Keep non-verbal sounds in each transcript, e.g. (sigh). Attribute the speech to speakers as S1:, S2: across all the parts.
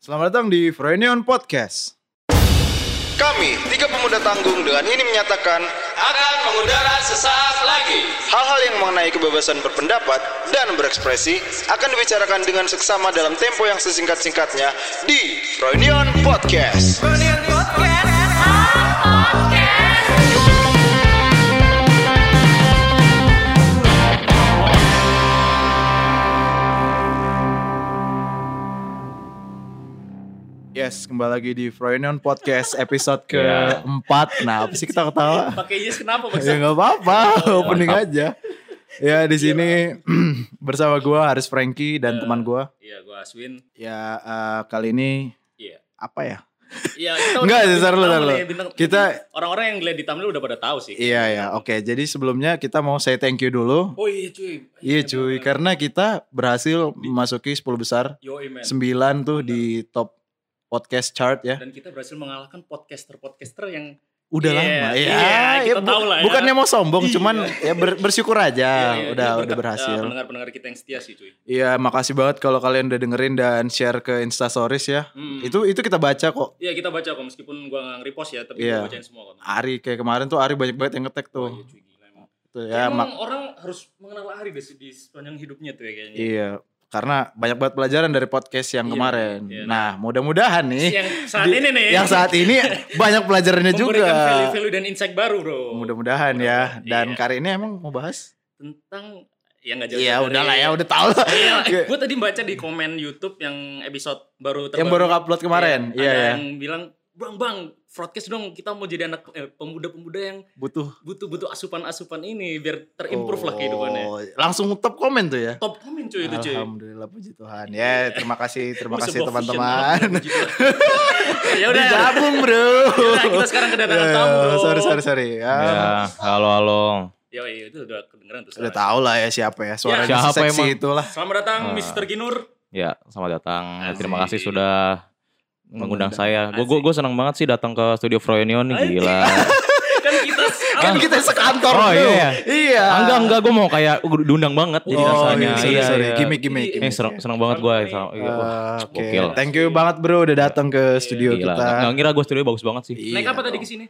S1: Selamat datang di Froynion Podcast.
S2: Kami, tiga pemuda tanggung dengan ini menyatakan
S3: akan mengudara sesaat lagi.
S2: hal-hal yang mengenai kebebasan berpendapat dan berekspresi akan dibicarakan dengan seksama dalam tempo yang sesingkat-singkatnya di Reunion Podcast.
S1: Yes, kembali lagi di Froynion Podcast (laughs) episode keempat. Nah, apa sih kita ketawa?
S3: Pakai jis kenapa bang?
S1: ya nggak apa-apa, opening aja. Ya di sini (clears throat) bersama gua Haris Franky dan teman gua.
S3: Iya, gue Aswin.
S1: Ya eh, kali ini
S3: Iya.
S1: apa ya?
S3: Iya, kita
S1: Enggak,
S3: udah-
S1: sebentar dulu,
S3: bintang
S1: sebentar dulu.
S3: nih, bintang-
S1: Kita-
S3: orang-orang yang lihat di thumbnail udah pada tahu sih.
S1: Iya ya, oke. Jadi sebelumnya kita mau say thank you dulu.
S3: Oh iya cuy.
S1: Iya cuy, karena kita berhasil memasuki 10 besar,
S3: Yo man.
S1: 9 tuh di top podcast chart ya.
S3: Dan kita berhasil mengalahkan podcaster-podcaster yang
S1: Udah
S3: Iya,
S1: lama ya.
S3: iya, kita
S1: bu-
S3: tahu lah ya.
S1: Bukannya mau sombong, cuman ya ber- bersyukur aja
S3: Iya, iya,
S1: Ah, udah
S3: itu
S1: udah
S3: berkat,
S1: berhasil.
S3: eh, pendengar-pendengar kita yang setia sih cuy.
S1: Iya, makasih banget kalau kalian udah dengerin dan share ke Insta Stories ya.
S3: Hmm.
S1: Itu itu kita baca kok.
S3: Iya kita baca kok meskipun gue nggak repost ya, tapi
S1: Iya.
S3: gue bacain semua kok.
S1: Ari kayak kemarin tuh Ari banyak banget yang ngetek
S3: Oh,
S1: tuh.
S3: iya cuy gila emang.
S1: Tuh ya,
S3: emang
S1: mak-
S3: orang harus mengenal Ari deh sih di sepanjang hidupnya tuh ya kayaknya.
S1: iya. Karena banyak banget pelajaran dari podcast yang
S3: Iya,
S1: kemarin.
S3: iya.
S1: Nah, mudah-mudahan nih
S3: Yang saat
S1: di-
S3: ini nih.
S1: Yang saat ini banyak pelajarannya juga.
S3: Memberikan value-value dan insight baru bro.
S1: Mudah-mudahan ya. Dan
S3: Iya.
S1: kali ini emang mau bahas?
S3: tentang ya nggak jauh Iya.
S1: Iya, udahlah ya, udah tahu lah. (laughs)
S3: gue tadi baca di komen YouTube yang episode baru
S1: yang baru upload kemarin.
S3: Iya,
S1: Iya,
S3: ada
S1: ya.
S3: yang bilang bang bang broadcast dong kita mau jadi anak eh, pemuda-pemuda yang
S1: Butuh
S3: butuh-butuh asupan-asupan ini biar terimprove lah kehidupannya.
S1: Oh, Langsung top komen tuh ya.
S3: Top komen cuy itu cuy.
S1: Alhamdulillah puji Tuhan. Ya, terima kasih, terima
S3: Wih,
S1: kasih
S3: sebuah
S1: (laughs)
S3: vision.
S1: teman-teman.
S3: Alhamdulillah. ya udah.
S1: Digabung, Bro.
S3: Yaudah, Ya kita sekarang kedatangan
S1: Eh,
S3: tamu, Bro.
S1: Sorry, sorry, sorry. Ya,
S4: Ya, halo halo.
S3: Ya iya, itu udah kedengeran tuh.
S1: udah
S3: suaranya.
S1: tau lah ya siapa ya. Suaranya
S4: Ya, siapa
S1: seksi
S4: emang?
S1: itulah.
S3: Selamat datang
S1: Ah.
S3: Mr. Ginur.
S4: Ya, selamat datang.
S3: Asik.
S4: Terima kasih sudah mengundang saya. Gue gue
S3: Asik.
S4: gue senang banget sih datang ke studio Froyonion
S3: Asik.
S4: nih, gila.
S3: Kan kita
S1: Kan kita sekantor Bro.
S4: Oh, iya.
S1: Iya.
S4: Ah, enggak enggak gue mau kayak gua diundang banget jadi
S1: Oh,
S4: rasanya.
S1: iya, sorry,
S4: Iya,
S1: sorry.
S4: iya.
S1: Gimik, gimik,
S4: Eh,
S1: gimik.
S4: seneng, seneng banget gue.
S1: Eh, Oke,
S4: Gokil. Iya,
S1: thank you banget bro udah datang ke studio
S4: Gila, Nah,
S1: kita.
S4: nggak ngira gue studio bagus banget sih.
S1: Iya.
S3: Naik apa tadi ke sini?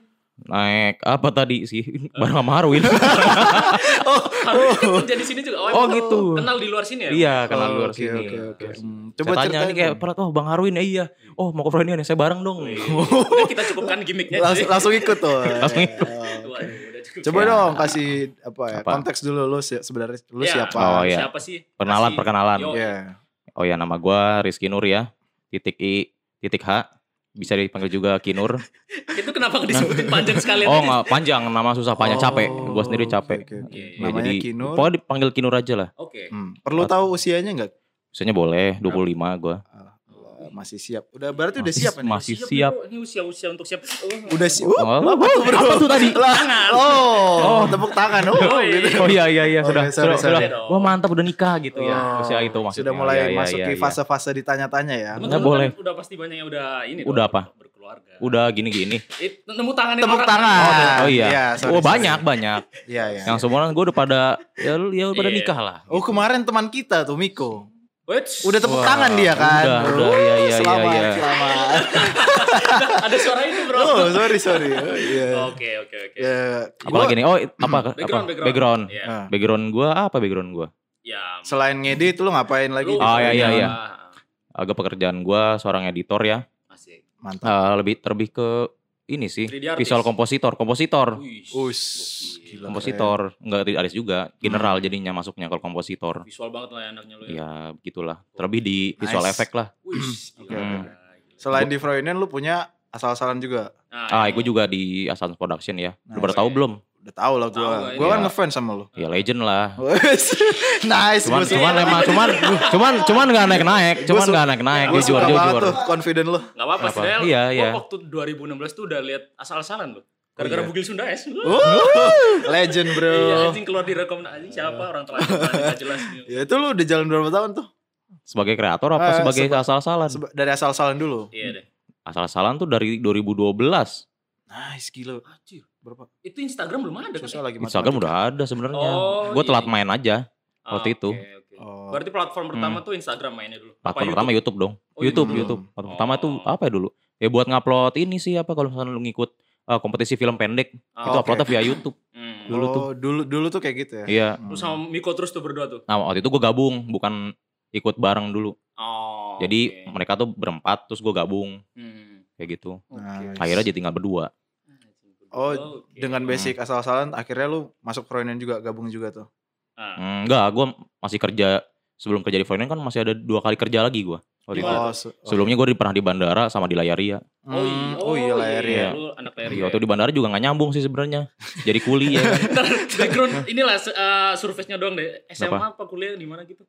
S4: Naik apa tadi sih? Barang sama
S1: (laughs)
S4: Harwin. (laughs)
S3: Harus kan kerja di sini juga. emang
S4: Oh, gitu.
S3: Kenal di luar sini ya?
S4: Iya,
S1: Oh,
S4: kenal luar
S1: oke,
S4: sini.
S1: Oke, oke. Hmm,
S4: Coba
S1: Coba
S4: saya tanya
S1: ceritain
S4: nih kayak
S1: dong.
S4: pernah oh Bang Harwin eh, iya. Oh mau ke Froyonion ya saya bareng dong.
S1: Iya.
S3: Udah kita cukupkan gimmicknya.
S1: langsung,
S3: cuy.
S1: langsung ikut tuh.
S4: (laughs)
S1: Ya,
S4: Langsung ikut.
S1: Oke.
S3: Waduh, udah cukup.
S1: Coba
S4: Ya.
S1: dong kasih apa ya?
S4: Apa?
S1: Konteks dulu lu si- sebenarnya lu
S3: Ya.
S1: siapa?
S4: Oh, iya.
S3: Siapa sih?
S4: Perkenalan,
S3: Kasih.
S4: perkenalan.
S3: Yo.
S1: Iya.
S4: Oh ya nama gua Rizky Nur ya. Titik I, titik H. Bisa dipanggil juga
S1: (laughs)
S4: Kinur.
S3: Itu kenapa
S4: (laughs)
S3: disebutin panjang sekali?
S4: Oh nggak panjang, nama susah panjang
S1: ya?
S4: capek.
S1: Oh,
S4: Gua sendiri
S1: oke,
S4: capek.
S1: oke, oke.
S3: Iya,
S4: Ya,
S1: Namanya
S4: jadi
S1: Kinur.
S4: Pokoknya dipanggil Kinur aja lah.
S3: Oke.
S1: Hmm. Perlu tahu usianya enggak?
S4: Biasanya boleh 25
S1: (laughs)
S4: gua.
S1: Allah, masih siap. Udah berarti udah siap ini.
S4: Masih
S3: Siap,
S4: siap.
S3: Bro. Ini usia-usia untuk siap. Oh.
S1: Udah siap. Oh,
S4: Oh, apa tuh tadi?
S1: tangan. Oh, tepuk tangan. Oh, gitu.
S4: Oh iya iya iya
S1: Oke,
S4: sudah
S1: sorry,
S4: sudah
S1: sorry.
S4: sudah. Wah mantap udah nikah gitu
S1: Oh,
S4: ya. Usia itu maksudnya.
S1: Sudah mulai
S4: Iya, iya,
S1: masuk
S4: iya,
S1: ke
S4: iya.
S1: fase-fase ditanya-tanya ya.
S3: Temen-temen
S4: Nggak boleh.
S3: Udah pasti banyak yang udah ini.
S4: Udah
S3: dong,
S4: apa?
S3: Berkeluarga.
S4: Udah
S1: (laughs)
S4: gini-gini.
S3: Eh, nemu tangan
S1: Tepuk tangan.
S4: Oh iya.
S1: Ah, sorry,
S4: oh
S1: sorry.
S4: banyak banyak.
S1: Iya, iya.
S4: Yang semua gue udah pada ya lu ya udah pada
S3: Iya.
S4: nikah lah.
S1: Oh, kemarin teman kita tuh Miko.
S3: Oh,
S1: Udah
S3: Udah
S1: tepuk
S4: Wah,
S1: tangan dia kan.
S4: udah, udah, iya, iya, iya,
S1: selamat,
S4: iya.
S1: selamat. (laughs)
S3: ada suara itu, Bro.
S1: Oh, sorry, sorry. Oh, Iya.
S3: Oke, oke, oke.
S1: Ya,
S4: Apalagi nih?
S1: (clears throat)
S4: Oh, i- apa apa?
S3: Background, background.
S4: Background. Ah.
S3: Iya.
S1: Nah,
S4: Background gua apa background gua?
S3: Ya.
S1: selain ngedit lu ngapain lagi?
S3: Lu-
S4: Oh, iya, iya, iya.
S3: Ah,
S4: Agak pekerjaan gua seorang editor ya.
S3: Asik.
S1: Mantap.
S4: Eh, lebih terlebih ke ini sih,
S3: 3D artist.
S4: visual kompositor, kompositor,
S3: Wih,
S1: Us,
S3: gokil.
S1: gila.
S4: kompositor, enggak artis juga, general jadinya masuknya kalau kompositor.
S3: Visual banget lah ya anaknya lu ya.
S4: Ya begitulah, terlebih di visual
S1: Nice.
S4: effect lah.
S3: Wih,
S1: Oke,
S3: gila.
S4: Hmm, oke.
S3: Gila.
S1: Selain di Froynion lu punya asal-asalan juga.
S3: Nah,
S4: Ah,
S3: ini.
S4: gue juga di Asans Production ya. Lu
S1: Nice.
S4: pada tahu belum?
S1: Udah tau lah gua.
S3: Tahu lah,
S1: gua
S3: iya.
S1: kan ngefans sama lu.
S4: Ya legend lah.
S1: (laughs) nice.
S4: Cuman
S1: gua
S4: cuman
S1: suka.
S4: emang cuman cuman cuman nggak naik naik, cuman
S1: su-
S4: nggak naik naik,
S1: Gua
S4: jujur
S1: suka banget
S4: jujur.
S1: tuh confident lu.
S3: Gak apa-apa
S4: Apa?
S3: sebenarnya
S4: Iya,
S3: gua
S4: iya. Oh,
S3: waktu 2016 tuh udah lihat asal-asalan loh. Gara-gara
S1: iya.
S3: Bugil Sunda es.
S1: (laughs) Legend bro.
S3: Iya, anjing keluar di rekomendasi anjing siapa
S4: Iya.
S3: orang terakhir enggak jelas. gitu.
S1: Ya itu lu udah jalan berapa tahun tuh?
S4: Sebagai kreator apa
S1: Eh,
S4: sebagai
S1: seba-
S4: asal-asalan?
S1: Seba- Dari asal-asalan dulu.
S3: Iya deh.
S4: Asal-asalan tuh dari 2012.
S1: Nice gila.
S3: Anjir,
S1: Berapa?
S3: itu Instagram belum ada kan?
S1: Susah lagi
S4: Instagram udah ada sebenarnya.
S3: Oh,
S4: gue
S3: iya,
S4: telat
S3: iya.
S4: main aja. Waktu itu. Hmm.
S3: oke, oke.
S1: Oh.
S3: Berarti platform pertama tuh Instagram mainnya dulu. Apa
S4: Platform pertama YouTube dong.
S3: Oh,
S4: YouTube,
S1: YouTube.
S4: YouTube. Platform pertama tuh
S3: Oh.
S4: apa ya dulu? Ya buat ngupload ini sih apa kalau misalnya lu ngikut eh, kompetisi film pendek,
S3: Ah,
S4: itu
S1: oke.
S4: uploadnya via YouTube.
S3: Hmm.
S1: Dulu tuh. Oh, dulu dulu tuh kayak gitu ya.
S4: Iya.
S1: Hmm.
S3: Lu sama Miko terus tuh berdua tuh.
S4: Nah, waktu itu gue gabung, bukan ikut bareng dulu.
S3: Oh.
S4: Jadi
S3: oke.
S4: mereka tuh berempat, terus gue gabung
S3: Hmm.
S4: kayak gitu.
S3: Oke.
S1: Nice.
S4: Akhirnya jadi tinggal
S1: Nah,
S4: berdua.
S1: iya. Oh,
S3: oke.
S1: Dengan basic asal-asalan akhirnya lu masuk Froynion juga gabung juga tuh.
S3: Ah.
S4: Hmm, Enggak, gue masih kerja sebelum kerja di Foreign kan masih ada dua kali kerja lagi gue. Waktu itu.
S3: Gimana?
S1: Oh, se-
S4: Sebelumnya gue pernah di bandara sama di Layaria.
S1: Hmm, Oh iya, lah
S4: iya.
S1: ya.
S3: Lu anak Larry.
S4: Iya, waktu di bandara juga nggak nyambung sih sebenarnya. Jadi kuli ya. kan.
S3: Background inilah eh, surface-nya doang deh. SMA apa kuliah di mana gitu?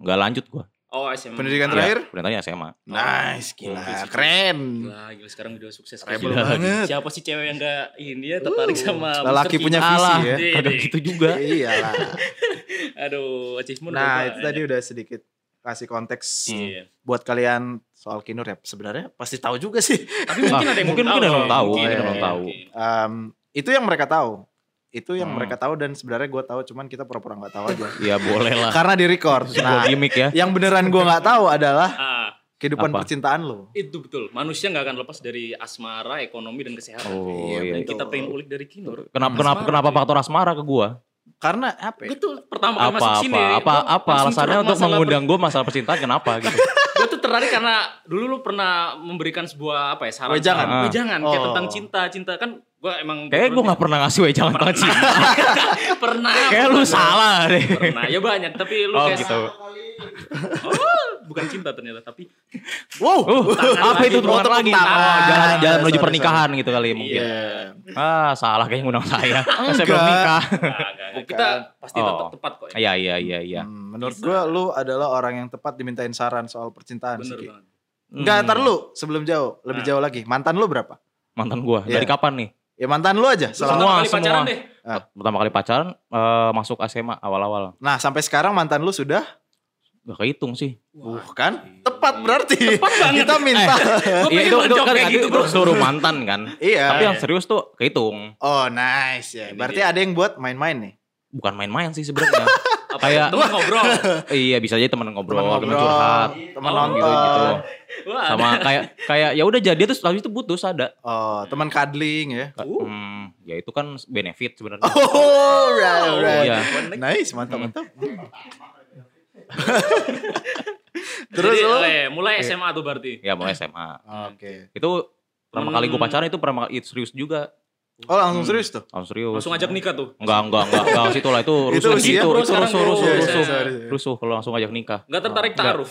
S4: Nggak lanjut Iya, gue.
S3: Oh, SMA.
S1: Pendidikan
S3: Ah,
S1: terakhir?
S4: Perintahnya SMA.
S1: Nice, gila, keren.
S3: Gila, gila sekarang udah sukses
S1: Rebel
S3: Gila.
S1: banget.
S3: Siapa sih cewek yang gak ini ya tertarik sama
S1: Lelaki
S3: Mr.
S1: punya
S3: Kim?
S1: visi
S4: Alah,
S1: ya.
S3: Dede.
S4: kadang gitu juga.
S1: (laughs) Iya lah.
S3: Aduh, achievement
S1: Nah,
S3: berapa?
S1: itu tadi Hmm. udah sedikit kasih konteks
S3: Iya.
S1: buat kalian soal Kinur ya. Sebenarnya pasti tahu juga sih. (laughs)
S3: Tapi mungkin ada yang
S4: mungkin-
S3: belum
S4: mungkin ada yang
S3: tahu.
S4: belum tahu,
S1: ada yang
S4: belum tahu.
S3: mungkin.
S1: Em, itu yang mereka tahu. Itu yang
S4: Hmm.
S1: mereka tahu dan sebenarnya gue tahu cuman kita pura-pura nggak tahu
S4: (laughs)
S1: aja.
S4: Iya boleh lah.
S1: Karena di record.
S4: Gua
S1: Nah,
S4: gimmick ya.
S1: yang beneran gue nggak tahu adalah
S3: Ah,
S1: kehidupan
S4: Apa?
S1: percintaan lo.
S3: itu betul. Manusia nggak akan lepas dari asmara, ekonomi dan kesehatan.
S4: Oh
S1: Iya,
S4: iya.
S3: Dan
S1: betul.
S3: kita pengen ulik dari Kinur. Asmara.
S4: Kenapa kenapa kenapa faktor asmara ke gua?
S1: Karena apa? ya?
S3: Betul, pertama kali masuk
S4: Apa
S3: sini.
S4: apa apa
S3: gua
S4: apa
S3: langsung
S4: alasannya
S3: curhat
S4: untuk
S3: masalah
S4: mengundang gua masalah percintaan kenapa
S1: (laughs)
S4: gitu?
S3: gue tuh tertarik karena dulu lu pernah memberikan sebuah apa ya saran
S1: Wejangan.
S3: saran- wejangan kayak
S1: Oh.
S3: tentang cinta cinta kan gue emang
S4: Kayaknya gua nggak pernah ngasih wejangan tentang
S1: (laughs)
S4: cinta. (laughs)
S3: pernah
S4: Kayak lu
S3: pernah.
S4: salah deh.
S3: pernah ya banyak tapi lu
S4: Oh
S3: kayak
S4: gitu.
S3: Oh, bukan cinta ternyata tapi
S1: Wow.
S4: Uh, apa
S3: lagi,
S4: itu
S1: mau
S4: temuan
S1: tepuk
S4: lagi?
S1: tangan.
S4: Oh, jalan jalan menuju
S1: Sorry,
S4: pernikahan gitu kali ya mungkin.
S1: Iya.
S4: Ah, salah kayaknya ngundang
S1: (laughs)
S4: saya. saya belum
S1: Enggak.
S3: Nah,
S4: nikah.
S3: nggak,
S4: (laughs)
S3: nggak. kita pasti
S4: Oh.
S3: tetap tepat kok ya.
S4: Iya, iya, iya, iya.
S1: Hmm, menurut gue lu adalah orang yang tepat dimintain saran soal percintaan.
S3: bener
S1: Siki.
S3: banget
S1: Enggak,
S4: Hmm.
S1: ntar lu sebelum jauh, lebih jauh lagi. Mantan lu berapa?
S4: Mantan gua dari
S1: Iya.
S4: kapan nih?
S1: Ya mantan lu aja.
S3: Pertama
S1: selama-
S3: kali
S4: Semua,
S3: pacaran
S4: semua. Iya,
S3: deh
S1: Ah.
S4: Pertama kali pacaran eh, masuk SMA awal-awal.
S1: Nah, sampai sekarang mantan lu sudah
S4: Gak kehitung sih.
S1: uh, kan? Tepat berarti. Kita minta.
S3: gue pengen
S4: Iya itu,
S3: lo
S4: itu
S3: jawab
S4: kan
S3: kayak gitu bro
S4: suruh mantan kan.
S1: (laughs) iya.
S4: Tapi yang
S3: iya.
S4: serius tuh kehitung.
S1: Oh, nice ya.
S3: Ini
S1: Berarti
S3: dia.
S1: ada yang buat main-main nih.
S4: Bukan main-main sih sebenarnya.
S3: apa
S4: Kayak-
S3: temen ngobrol
S4: (laughs) iya bisa aja teman ngobrol,
S1: Teman
S4: teman
S1: ngobrol, Iya.
S4: curhat,
S1: teman
S4: gitu-
S1: nonton.
S4: gitu.
S3: Wah,
S4: Sama kayak kayak ya udah jadi terus habis itu putus ada.
S1: Oh, teman cuddling ya. (laughs)
S3: Uh.
S4: Hmm, ya itu kan benefit sebenarnya.
S1: Oh, right,
S3: Oh,
S1: right.
S4: iya.
S1: Nice, mantap, mantap. Terus
S3: terus
S1: lu?
S3: mulai SMA tuh berarti
S4: Ya mau SMA.
S1: Oke.
S4: Itu pertama kali gue
S3: Hmm.
S4: pacaran itu pertama kali itu serius juga.
S1: Oh, langsung serius tuh.
S4: Langsung serius.
S3: langsung ajak nikah tuh
S4: Enggak, enggak, enggak, enggak situ lah itu
S1: Itu
S4: rusuh
S1: usia,
S4: gitu,
S1: bro,
S4: itu
S3: sekarang,
S4: rusuh,
S3: bro.
S4: rusuh,
S3: Iya,
S4: rusuh,
S1: iya, iya.
S4: rusuh kalau langsung ajak nikah.
S3: nggak tertarik
S4: Oh, Nggak.
S3: taaruf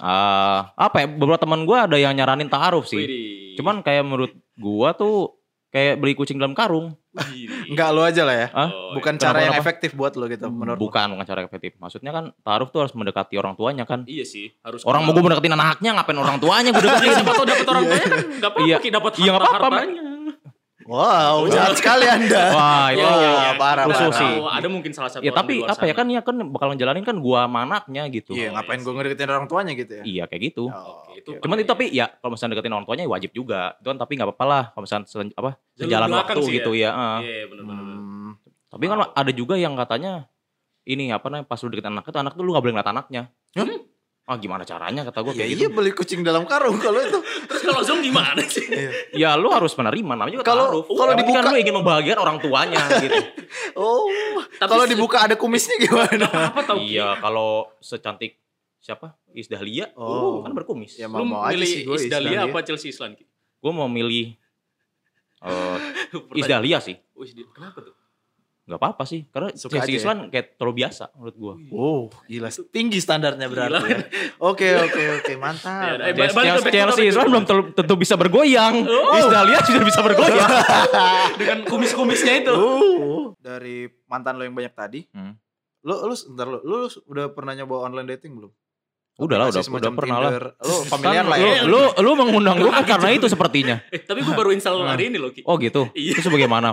S4: Ah, apa ya, beberapa teman gue ada yang nyaranin taaruf sih.
S3: Widih.
S4: Cuman kayak menurut gua tuh kayak beli kucing dalam karung.
S3: Widih.
S1: Enggak lu aja lah ya.
S4: Hah?
S3: Oh,
S1: Bukan
S4: iya.
S1: cara yang
S4: Kenapa-kenapa?
S1: efektif buat lu gitu menurut lu.
S4: Bukan bukan cara efektif. Maksudnya kan taaruf tuh harus mendekati orang tuanya kan.
S3: Iya sih, harus
S4: Orang mau gue mendekatin anaknya ngapain orang tuanya gue
S3: Iya,
S4: deketin.
S3: siapa tau dapet orang tuanya kan nggak apa-apa
S4: Iya.
S3: Ki, dapet
S4: (laughs) Iya, nggak apa-apa,
S3: harta-hartanya.
S1: Wow, jahat sekali Anda.
S4: Wah, itu.
S1: Iya, iya, iya. parah,
S3: Nggak
S4: parah.
S3: tahu, Ada mungkin salah satu
S4: Ya
S3: orang di
S4: tapi
S3: luar
S4: apa ya
S3: sana.
S4: kan ya kan bakal ngejalanin kan gua sama anaknya gitu.
S1: Iya,
S3: Oh,
S1: ngapain
S3: iya
S1: gue ngedeketin orang tuanya gitu ya?
S4: Iya kayak gitu.
S1: Oh,
S3: Oke,
S1: oke.
S3: itu
S4: Cuman itu tapi ya kalau misalnya deketin orang tuanya ya wajib juga. Itu kan tapi nggak apa-apa lah kalau misalnya se- apa
S3: Jalur
S4: sejalan
S3: belakang
S4: waktu
S3: sih
S4: gitu ya. eh.
S3: Iya, benar benar.
S1: Hmm.
S4: Tapi kan ada juga yang katanya ini apa namanya pas lu deketin anak itu anak tuh lu nggak boleh ngeliat anaknya.
S1: Hah?
S4: Ah gimana caranya kata gue
S1: Ya
S4: kayak
S1: iya
S4: gitu.
S1: beli kucing dalam karung kalau itu.
S3: Terus kalau Zoom gimana
S4: (laughs)
S3: sih?
S4: Ya lu harus menerima namanya juga
S1: Kalau-
S4: taaruf.
S1: kalau
S4: Yang penting kan
S1: dibuka-
S4: lu ingin membahagiakan orang
S1: (laughs)
S4: tuanya gitu.
S1: Oh.
S3: Tapi
S1: Kalau
S3: se-
S1: dibuka ada kumisnya gimana?
S3: Apa tau Ki?
S4: iya kalau secantik siapa? Is Dahlia.
S1: Oh.
S4: kan berkumis.
S1: Ya
S3: Lu
S1: mau mau aja
S3: milih
S1: sih gue
S3: Isdalia
S4: ya.
S3: apa Chelsea Islan? Ki? (laughs)
S4: Gue mau milih eh Is
S3: Pertanyaan.
S4: Dahlia sih.
S3: Oh, Isdalia. Kenapa tuh?
S4: Gak apa-apa sih. Karena
S1: Suka
S4: Chelsea
S1: aja ya.
S4: Islan kayak terlalu biasa menurut gue.
S3: Eh,
S1: Oh, gila. Tinggi standarnya berarti.
S3: Gila.
S1: ya. Oke, oke, oke,
S3: Ya,
S1: mantap.
S3: udah, eh, balik
S4: Chelsea,
S3: ke back
S4: Chelsea,
S3: Oh. to topic.
S4: Islan belum tel- tentu bisa bergoyang. Isdalia sudah bisa
S3: (laughs)
S4: bergoyang.
S3: Dengan kumis-kumisnya itu.
S1: Oh. Dari mantan lo yang banyak tadi,
S4: Hmm.
S1: lu lu ntar lu, lu udah pernah nyoba online dating belum?
S4: Udah lah, udah,
S1: Aplikasi
S4: udah
S1: semacam
S4: pernah lah.
S1: Tinder. Lu familiar
S4: Kan
S1: lah ya.
S4: Lu, lu, lu mengundang gue kan karena itu sepertinya.
S3: Eh, tapi gue baru install hari ini loh, Ki.
S4: Oh gitu.
S3: Iya.
S4: Terus bagaimana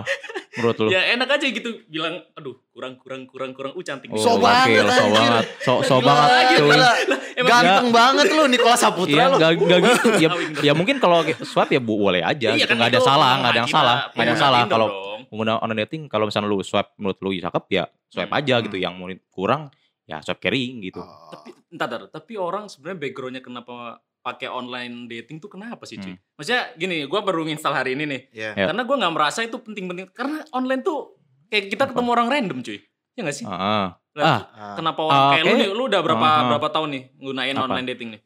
S4: menurut lu?
S3: Ya enak aja gitu bilang, aduh kurang kurang kurang kurang, uh cantik. Gitu.
S1: So
S4: Oh, iya. gokil,
S1: banget,
S4: so
S1: anjir.
S4: banget, so, so
S1: Gila,
S4: banget,
S1: gila.
S4: cuy.
S3: emang
S1: Ganteng banget lu Nikola Saputra
S4: Iya,
S1: lu.
S4: nggak nggak gitu.
S3: (laughs)
S4: Ya,
S3: Kawin dong.
S4: ya mungkin kalau swab ya bu, boleh aja.
S3: Iya,
S4: gitu.
S3: kan
S4: Nggak ada
S3: itu Nah,
S4: salah, nggak ada
S3: menghakimi
S4: yang salah,
S3: lah,
S4: nggak ada yang
S3: menghakimi
S4: salah.
S3: Iya, dong
S4: Kalau
S3: dong.
S4: pengguna online dating kalau misalnya lu swipe menurut lu cakep ya swipe
S3: Hmm.
S4: aja gitu yang menurut kurang ya swipe carrying gitu
S2: Oh.
S3: Tapi entar, entar. tapi orang sebenarnya backgroundnya kenapa pakai online dating tuh kenapa sih cuy?
S4: Hmm.
S3: Maksudnya gini, gua baru install hari ini nih.
S2: Iya.
S4: Ya.
S3: Karena gua nggak merasa itu penting-penting. Karena online tuh kayak kita
S4: Apa?
S3: ketemu orang random cuy. Ya nggak sih?
S4: Heeh.
S3: Lah,
S4: Ah,
S2: Ah.
S3: Kenapa orang
S4: Ah,
S3: kayak lu
S4: oke.
S3: nih? Lu udah berapa
S4: Aha.
S3: berapa tahun nih gunain
S4: Apa?
S3: online dating nih?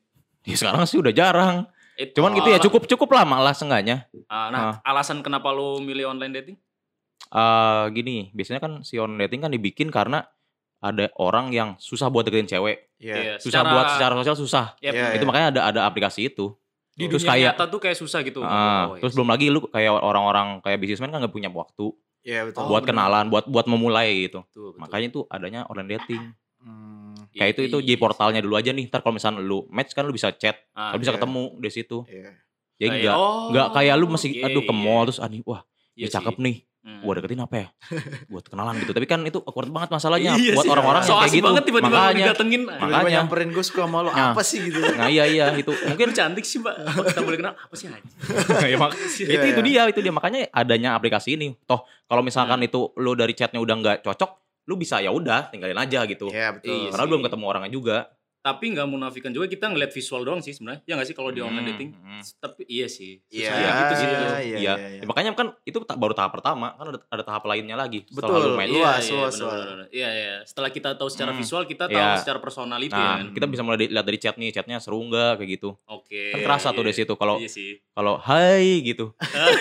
S4: ya sekarang sih udah jarang
S3: Itu
S4: cuman gitu ya
S3: alas-
S4: cukup cukup lama lah seenggaknya
S3: ah, nah, alasan kenapa lu milih online dating?
S4: Eh gini biasanya kan si online dating kan dibikin karena ada orang yang susah buat deketin cewek
S1: Iya.
S3: Iya,
S4: susah buat secara sosial susah
S3: Yep.
S1: Iya,
S4: itu
S1: iya.
S4: makanya ada ada aplikasi itu
S3: di
S4: terus
S3: dunia
S4: kayak
S3: nyata tuh kayak susah gitu.
S4: Ah,
S3: Oh, iya.
S4: terus belum lagi lu kayak orang-orang kayak bisnismen kan nggak punya waktu
S1: Iya betul.
S3: Oh,
S4: buat
S3: bener.
S4: kenalan, buat buat memulai gitu.
S3: Betul, betul.
S4: Makanya itu adanya online dating.
S1: Hmm,
S4: Kayak itu itu
S3: Iya,
S4: jadi
S3: iya.
S4: portalnya dulu aja nih. Ntar kalau misalnya lu match kan lu bisa chat,
S3: Ah,
S4: lu bisa
S1: iya.
S4: ketemu di situ.
S1: iya.
S4: Jadi
S3: kayak-
S4: enggak
S3: oh,
S4: enggak kayak lu masih
S3: oke,
S4: aduh ke
S3: iya.
S4: mall terus ah nih, wah,
S3: Iya
S4: dia cakep
S3: sih.
S4: nih.
S3: Hmm.
S4: Gua deketin
S3: (laughs)
S4: apa ya? Buat kenalan gitu. Tapi kan itu awkward banget masalahnya
S3: Iya
S4: buat
S3: sih.
S4: orang-orang
S3: so
S4: yang kayak
S3: asik
S4: gitu.
S3: banget tiba-tiba lu
S4: Makanya
S3: didatengin.
S4: Makanya.
S1: Tiba-tiba nyamperin gue suka sama lo
S4: Nah.
S1: apa sih gitu?
S4: Nah iya iya
S3: (laughs)
S4: itu
S3: Mungkin
S4: mungkin
S3: cantik sih, Mbak. Apa kita boleh kenal? Apa sih anjing?
S4: (laughs) ya, mak-
S1: Iya,
S4: itu itu
S1: iya.
S4: dia itu dia makanya adanya aplikasi ini toh kalau
S3: Hmm.
S4: misalkan itu lu dari chatnya udah nggak cocok lu bisa ya udah tinggalin aja gitu
S1: Iya betul.
S3: Iya
S4: karena
S3: sih.
S4: lu belum ketemu orangnya juga
S3: Tapi nggak munafikan juga kita ngeliat visual doang sih sebenarnya. Ya nggak sih kalau di online
S4: Hmm,
S3: dating?
S4: hmm.
S3: Tapi iya sih.
S1: Iya,
S3: Susah
S4: Iya,
S3: gitu sih.
S1: iya,
S3: Iya.
S1: iya,
S4: Iya.
S1: iya, iya.
S4: Ya, makanya kan itu ta- baru tahap pertama, kan ada, ada tahap lainnya lagi.
S1: Betul.
S4: Setelah lu main.
S1: Luas,
S3: iya,
S1: luas,
S3: benar,
S1: luas.
S3: benar, benar. Iya, iya. Setelah kita tahu secara
S4: Hmm.
S3: visual, kita tahu
S4: Iya.
S3: secara personality ya.
S4: Nah,
S3: kan.
S4: kita bisa mulai di- lihat dari chat nih, chatnya seru nggak kayak gitu.
S3: Oke.
S4: Kan kerasa tuh dari
S3: iya.
S4: situ kalau
S3: Iya
S4: (laughs)
S3: sih.
S4: kalau hai
S3: (laughs)
S4: gitu.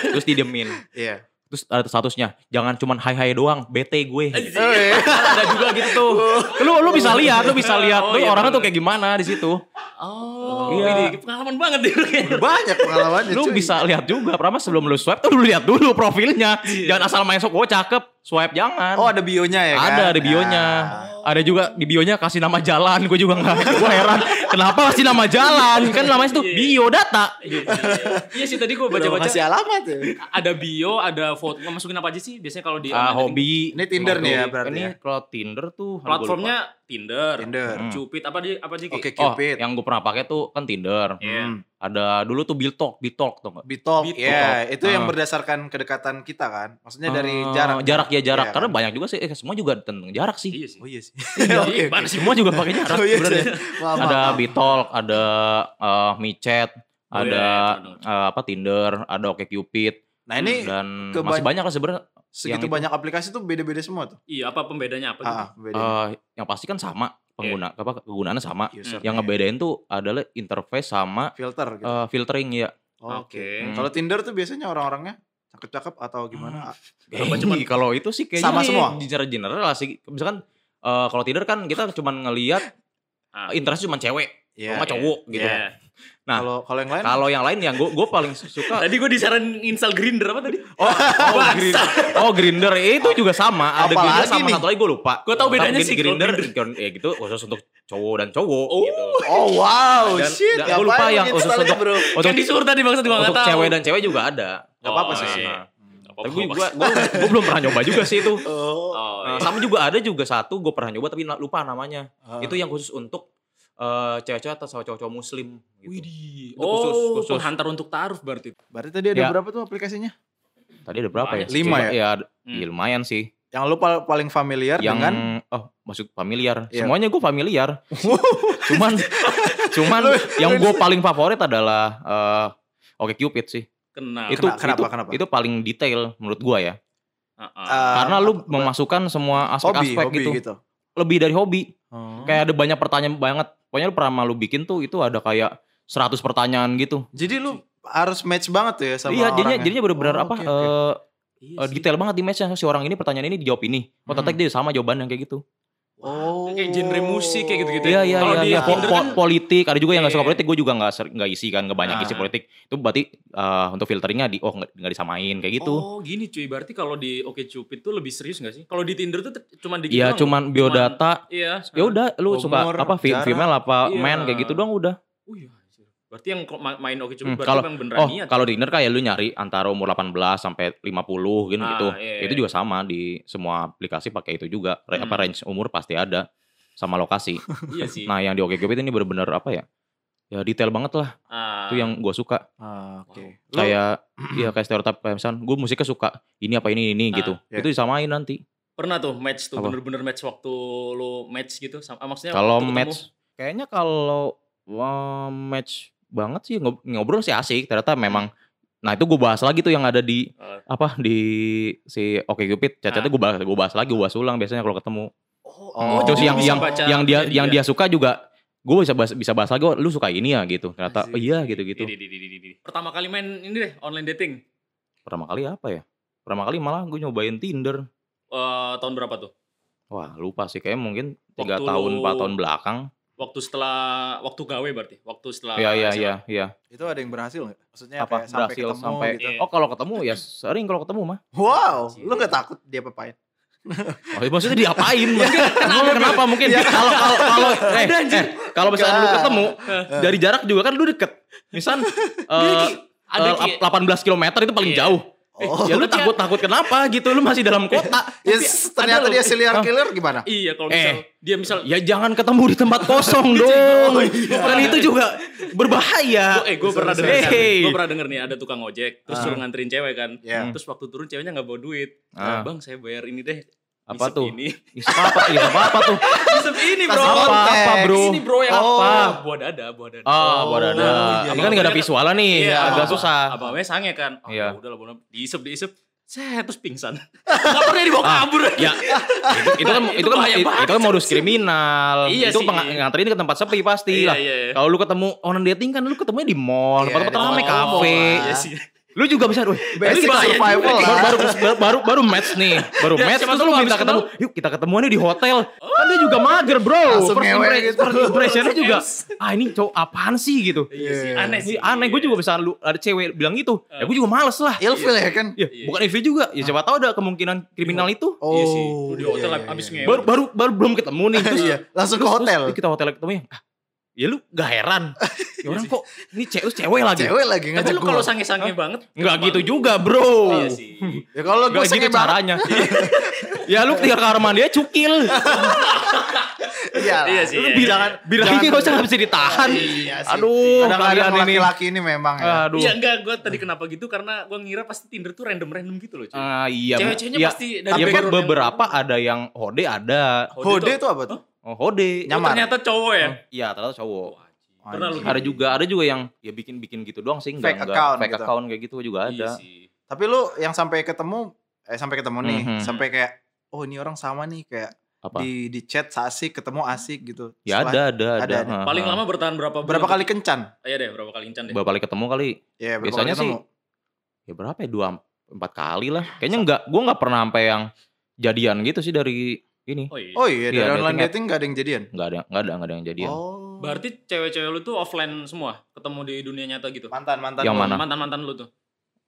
S4: terus didemin.
S1: Iya.
S4: Terus ada statusnya, jangan cuman hai hai doang, bete
S3: Eh,
S4: gue.
S1: Oh, iya.
S3: Ada juga gitu tuh.
S4: lu lu bisa lihat, lu bisa lihat
S3: Oh,
S4: tuh
S3: iya,
S4: orangnya tuh
S3: bener.
S4: kayak gimana di situ.
S3: Oh,
S4: Iya.
S3: ini pengalaman banget (laughs) Iya, dia.
S1: Udah Eh, Banyak pengalamannya.
S4: Lu
S3: iya.
S1: cuy.
S4: bisa lihat juga, pertama sebelum lu swipe tuh lu lihat dulu profilnya.
S3: Iya.
S4: Jangan asal main sok, oh cakep, swipe jangan.
S1: Oh ada bionya ya kan?
S4: Ada ada bionya.
S1: Nah.
S4: Ada juga di bionya kasih nama jalan. Gue juga nggak. (laughs) Gue heran. Kenapa kasih nama jalan? Kan namanya itu
S3: Iya.
S4: bio data.
S3: Iya, iya. Iya sih tadi gue
S1: Baca-baca
S3: baca-baca
S1: kasih alamat ya.
S3: ada bio, ada foto. Lo Masukin apa aja sih biasanya kalau di online
S4: Ah,
S3: dating?
S4: hobi.
S1: Iya, Ini Tinder nih ya berarti
S4: Ini
S1: ya?
S4: kalau Tinder tuh aduh, gua
S3: platformnya Tinder,
S1: Tinder.
S4: Hmm.
S3: Cupid apa aja apa aja
S1: Oke
S4: lupa. Oh,
S1: Cupid.
S4: yang gue pernah pakai tuh kan Tinder.
S3: Iya.
S1: Hmm.
S4: Ada dulu tuh Biltalk, Biltalk tuh nggak?
S1: Bitalk,
S3: Bitalk.
S1: ya itu yang
S4: Ah.
S1: berdasarkan kedekatan kita kan, maksudnya dari
S4: Eh,
S1: jarak.
S4: jarak ya jarak.
S1: Iya,
S4: Karena
S1: kan?
S4: banyak juga sih, eh, semua juga tentang jarak sih.
S3: Iya sih.
S1: Oh (laughs) iya
S4: (laughs)
S1: sih.
S3: Iya,
S1: Oke.
S3: mana sih?
S4: Semua juga pakai jarak
S1: (laughs) Oh iya
S4: sebenarnya.
S1: sih. Maaf, maaf,
S4: ada
S1: maaf.
S4: Bitalk, ada eh, micet,
S3: Oh,
S4: ada
S3: iya, itu bener.
S4: eh, apa Tinder, ada OkCupid
S1: Nah ini
S4: dan
S1: keba-
S4: masih banyak lah sebenarnya.
S1: segitu
S4: yang itu.
S1: banyak aplikasi tuh beda-beda semua tuh.
S3: Iya, apa pembedanya apa gitu?
S1: Ah, beda.
S4: Eh, yang pasti kan sama pengguna
S3: Iya.
S4: apa kegunaannya sama.
S1: User
S4: Yang ngebedain tuh adalah interface sama
S1: filter gitu.
S4: eh, filtering ya.
S1: Oke.
S4: Hmm.
S1: Kalau Tinder tuh biasanya orang-orangnya cakep-cakep atau gimana?
S3: Apa
S4: Eh,
S3: cuman-
S4: kalau itu sih kayaknya
S1: Sama
S4: ini
S1: semua?
S4: Secara general sih. Misalkan eh, kalau Tinder kan kita cuman ngelihat
S3: Ah.
S4: interest cuma cewek
S1: Iya.
S4: sama cowok gitu.
S3: Iya.
S4: Nah,
S1: Kalau kalau yang lain
S4: Kalau yang lain yang gue paling
S3: (laughs)
S4: suka
S3: Iya. Tadi gue disaran install Grinder apa tadi? Gitu.
S4: Oh, oh, Grinder. Oh, Grinder itu juga sama. Ada
S1: Apalagi
S4: Grinder sama
S1: nih?
S4: satu lagi gue lupa.
S3: Gua tahu bedanya
S4: Tapi
S3: sih kalau
S4: Grinder, ya gitu khusus untuk cowok dan cowok
S3: Oh.
S4: gitu.
S1: Oh wow,
S4: Dan-
S1: shit.
S4: dan gua lupa
S1: ngapain
S4: yang
S1: gitu
S4: khusus
S1: soalnya,
S4: untuk
S1: bro.
S4: untuk,
S3: kan disuruh tadi maksud gue enggak
S4: untuk
S3: tahu.
S4: cewek dan cewek juga ada.
S1: Gak apa-apa
S3: Oh,
S1: sih.
S3: iya.
S1: Nah.
S3: Nggak apa-apa,
S4: Tapi gue
S3: nggak
S4: gua,
S3: apa-apa.
S4: gua, gua belum pernah nyoba juga sih itu.
S1: Oh.
S3: Oh,
S4: Nah,
S3: iya.
S4: sama juga ada juga satu gue pernah nyoba tapi lupa namanya.
S1: Ah.
S4: Itu yang khusus untuk eh, cewek-cewek atau sama cowok-cowok muslim gitu.
S3: Widih.
S4: Itu khusus,
S3: Oh,
S4: khusus.
S3: penghantar untuk taruh berarti.
S1: Berarti tadi ada
S4: Ya.
S1: berapa tuh aplikasinya?
S4: Tadi ada berapa ya?
S3: Banyak
S1: sih. Lima ya?
S4: Iya, ada-
S3: Hmm.
S4: iya, lumayan sih.
S1: Yang lu pal- paling familiar
S4: yang
S1: dengan
S4: oh maksud
S1: kan?
S4: familiar
S1: Iya.
S4: semuanya gue
S1: (laughs)
S4: familiar cuman cuman yang gue paling favorit adalah eh Oke Cupid sih
S3: Kenal.
S4: itu
S1: Nah, Kenapa, kenapa,
S4: itu
S1: kenapa?
S4: itu paling detail menurut gue ya
S3: Heeh.
S1: eh,
S4: karena lu
S1: apa-
S4: memasukkan semua
S1: hobi,
S4: aspek-aspek
S1: hobi
S4: gitu.
S1: gitu.
S4: lebih dari hobi
S1: Oh.
S4: kayak ada banyak pertanyaan banget pokoknya lu pernah lu bikin tuh itu ada kayak 100 pertanyaan gitu
S1: Jadi lu harus match banget tuh ya sama
S4: iya
S1: orangnya.
S4: jadinya jadinya bener-bener
S1: Oh,
S4: apa
S1: oke,
S4: eh
S1: oke.
S3: Iya
S4: eh,
S3: sih.
S4: detail banget di matchnya si orang ini pertanyaan ini dijawab ini oh ternyata
S1: Hmm.
S4: dia sama jawaban yang kayak gitu
S1: Oh.
S3: Kayak genre musik kayak gitu-gitu ya?
S4: Iya iya
S3: Kalau
S4: iya.
S3: di
S4: iya. Po-
S3: Tinder
S4: po-
S3: kan-
S4: politik ada juga yang nggak suka
S3: Iya.
S4: politik. Gue juga nggak ser- nggak isi kan nggak banyak isi
S3: Ah.
S4: politik. Itu berarti eh, untuk filteringnya di oh nggak nggak disamain kayak gitu.
S3: Oh gini cuy, berarti kalau di Oke Cupid tuh lebih serius gak sih? Kalau di Tinder tuh te- gitu cuman dikit
S4: Iya
S3: doang.
S4: cuman biodata.
S3: Iya.
S4: Ya udah lu
S1: Umur,
S4: suka apa fe-
S1: jarak.
S4: female apa
S3: Iya.
S4: man kayak gitu doang udah.
S3: Oh iya. anjir. Berarti yang ko- ma- main Oke Cupid
S4: Hmm,
S3: berarti
S4: kalau-
S3: emang beneran
S4: Oh
S3: niat.
S4: kalau di Tinder kayak lu nyari antara umur 18 sampai 50 gitu
S3: Ah,
S4: gitu.
S3: iya, iya.
S4: Itu juga sama di semua aplikasi pakai itu juga. Re-
S3: Hmm.
S4: Apa range umur pasti ada sama lokasi.
S3: (laughs) Iya sih.
S4: (laughs) Nah yang di OkCupid ini bener-bener apa ya? ya detail banget lah
S3: Ah,
S4: itu yang gue suka
S1: Ah, Oke. Lu-
S4: kayak ya kayak stereotip kayak misalnya gue musiknya suka ini apa ini ini
S3: Ah,
S4: gitu
S1: iya.
S4: itu disamain nanti
S3: pernah tuh match tuh
S4: Apa?
S3: bener-bener match waktu lu match gitu sama ah, maksudnya waktu
S4: kalau
S3: ketemu.
S4: match kayaknya kalau wah, match banget sih ngob- ngobrol sih asik ternyata
S3: Hmm.
S4: memang nah itu gue bahas lagi tuh yang ada di
S3: Ah.
S4: apa di si Oke Cupid cacatnya gue bahas gue bahas lagi gue bahas ulang biasanya kalau ketemu
S1: Oh,
S4: terus
S1: jadi
S4: yang
S1: bisa
S4: yang
S3: baca ya?
S4: yang dia yang
S3: dia.
S4: dia suka juga gue bisa bahas, bisa bahas lagi oh, lu suka ini ya gitu ternyata
S3: Asik.
S4: oh, iya gitu gitu
S3: Di- di- di- di- di- di. pertama kali main ini deh online dating
S4: pertama kali apa ya pertama kali malah gue nyobain Tinder
S3: Eh, tahun berapa tuh
S4: wah lupa sih kayak mungkin tiga
S3: Waktu
S4: tahun
S3: lu-
S4: empat tahun belakang
S3: waktu setelah waktu gawe berarti waktu setelah
S4: Iya iya
S3: Ah, SMA.
S4: iya iya.
S1: Itu ada yang berhasil nggak? Maksudnya
S4: Apa
S1: Iya, kayak sampai
S4: berhasil
S1: ketemu
S4: sampai
S1: gitu.
S3: Iya.
S4: Oh kalau ketemu ya sering kalau ketemu mah.
S1: Wow, lu gak takut dia papain?
S4: Oh, maksudnya diapain? Maksudnya kenapa, kenapa mungkin kalau kalau kalau eh, eh, kalau misalnya lu
S1: Enggak.
S4: ketemu dari jarak juga kan lu deket. Misal eh
S3: Ada Ki.
S4: eh, 18 km itu paling
S3: Iya.
S4: jauh.
S1: Oh.
S4: ya lu takut takut kenapa gitu lu masih dalam kota.
S1: Yes,
S3: ada
S1: ternyata
S3: loh.
S1: dia serial
S4: Oh.
S1: killer gimana?
S3: Iya kalau
S4: Eh.
S3: misal dia misal
S4: Ya jangan ketemu di tempat kosong dong. Dan itu juga
S3: Gua-
S4: berbahaya.
S3: eh gue pernah denger
S4: Ya, Hey.
S3: gue pernah denger nih ada tukang ojek terus
S1: Ah.
S3: suruh nganterin cewek kan
S1: Ya.
S3: terus waktu turun ceweknya nggak bawa duit Nah,
S4: Ah.
S3: bang saya bayar ini deh
S4: Apa
S3: Isep
S4: tuh?
S3: ini (laughs)
S4: Isep apa? Isep apa tuh?
S3: Isep ini bro
S1: Kasih
S4: Apa apa
S1: konteks.
S4: bro?
S3: ini bro yang
S4: Oh.
S3: apa buah dada buah dada
S4: Ah,
S1: Oh,
S4: buat ada.
S1: iya.
S4: Ini kan nggak ada visualnya nih,
S3: Iya,
S4: agak
S3: abang-
S4: susah.
S3: abangnya sange kan oh,
S4: Iya.
S3: ya udah lah bono diisep diisep saya terus
S4: (laughs)
S3: pingsan nggak pernah dibawa
S4: Ah,
S3: kabur
S4: Ya, itu, itu kan
S3: Nah,
S4: itu kan
S3: bahaya
S4: itu,
S3: banget
S4: kan modus
S3: sih.
S4: kriminal.
S3: Iya
S4: itu
S3: sih.
S4: peng- nganterin ke tempat sepi pasti
S3: Iya,
S4: lah.
S3: iya, iya.
S4: Kalau lu ketemu online dating kan lu ketemunya di mall,
S1: Iya,
S4: tempat-tempat
S1: di
S4: ramai,
S1: mall, mall.
S4: kafe.
S3: Oh, Iya sih.
S4: Lu juga bisa, wih,
S1: Basic
S4: lu juga-
S1: survival
S4: baru,
S1: lah.
S4: baru, baru, baru, baru match nih,
S3: (laughs)
S4: baru
S3: Ya,
S4: match
S3: siapa
S4: terus
S3: tahu
S4: lu
S3: habis Oh.
S4: minta ketemu, yuk kita ketemuannya di hotel, kan dia juga mager bro,
S1: Langsung ngewe
S4: impre-
S1: gitu.
S4: first impressionnya juga, ah ini cowok apaan sih gitu,
S3: Iya sih,
S1: Iya.
S3: aneh sih.
S4: Ini aneh, gue juga bisa lu ada cewek bilang gitu, ya gue juga males lah,
S1: Ilfil ya kan?
S4: ya
S3: Iya.
S4: bukan EV juga, ya siapa tahu ada kemungkinan kriminal itu,
S1: Oh,
S3: Iya sih. Lu di hotel
S1: iya, iya,
S3: abis
S1: iya.
S3: ngewe.
S4: baru baru baru belum ketemu
S3: (laughs)
S4: nih terus
S1: Iya, langsung ke hotel.
S4: terus kita hotel ketemu ya ah, ya lu gak
S1: (laughs)
S4: heran ya orang kok ini cewek cewek lagi
S1: Iya Cewek lagi
S3: Tapi
S1: ngajak
S3: lu
S1: gua.
S3: kalau sange-sange banget
S4: nggak
S3: kenapa
S4: gitu
S3: lu-
S4: juga bro
S3: Iya
S4: (laughs)
S3: sih.
S1: Ya kalau gue
S4: Gak gitu
S1: sange banget. (laughs)
S4: caranya ya lu tinggal kamar dia cukil
S1: Iya lah.
S3: Iya sih.
S1: Lu
S3: iya,
S1: bi-
S3: iya.
S4: bilang bilangnya
S1: jangan.
S4: gak usah nggak bisa ditahan
S1: Iya sih.
S4: aduh
S1: Kadang-kadang
S4: kalian ini Ah.
S1: laki-laki ini memang ya.
S4: aduh
S3: Iya enggak, gue tadi kenapa gitu karena gue ngira pasti Tinder tuh random-random gitu loh. cuy.
S4: Ah, iya,
S3: Cewek-ceweknya
S4: iya.
S3: pasti dari
S4: tapi kan
S3: background yang-
S4: beberapa ada yang hode ada.
S3: Hode
S1: Hode
S3: tuh-
S1: itu apa tuh?
S4: Oh, hode.
S3: Oh,
S1: Nyaman.
S3: ternyata cowok ya.
S4: Iya, ternyata cowok. Hmm.
S3: Pernah lu gitu?
S4: Ada juga, ada juga yang ya bikin-bikin gitu doang sih,
S1: Iya.
S4: enggak
S1: Fake
S4: enggak
S1: account
S4: fake
S1: gitu.
S4: account kayak gitu juga ada.
S3: Iya sih.
S1: Tapi lu yang sampai ketemu eh sampai ketemu nih,
S4: Mhm.
S1: sampai kayak oh ini orang sama nih kayak
S4: Apa?
S1: di di chat asik ketemu asik gitu.
S4: Ya
S1: Setelah-
S4: ada, ada, ada.
S1: ada, ada.
S4: Heeh.
S3: Paling lama bertahan berapa bulan?
S1: Berapa kali kencan?
S3: Iya deh, berapa kali incan deh.
S4: Baru kali ketemu kali.
S1: Ya, berapa
S4: Biasanya
S1: kali ketemu?
S4: Ya berapa ya? Dua, empat kali lah.
S3: Ah,
S4: Kayaknya enggak, gue nggak pernah sampai yang jadian gitu sih dari ini.
S3: Oh iya.
S1: Oh iya, dari
S4: Iya, dating
S1: online
S4: app.
S1: dating gak ada yang jadian.
S4: Nggak ada, nggak ada, nggak ada yang jadian.
S1: Oh.
S3: Berarti cewek-cewek lu tuh offline semua, ketemu di dunia nyata gitu.
S1: mantan-mantan
S4: Yang
S1: lu.
S4: mana?
S3: Mantan-mantan lu tuh.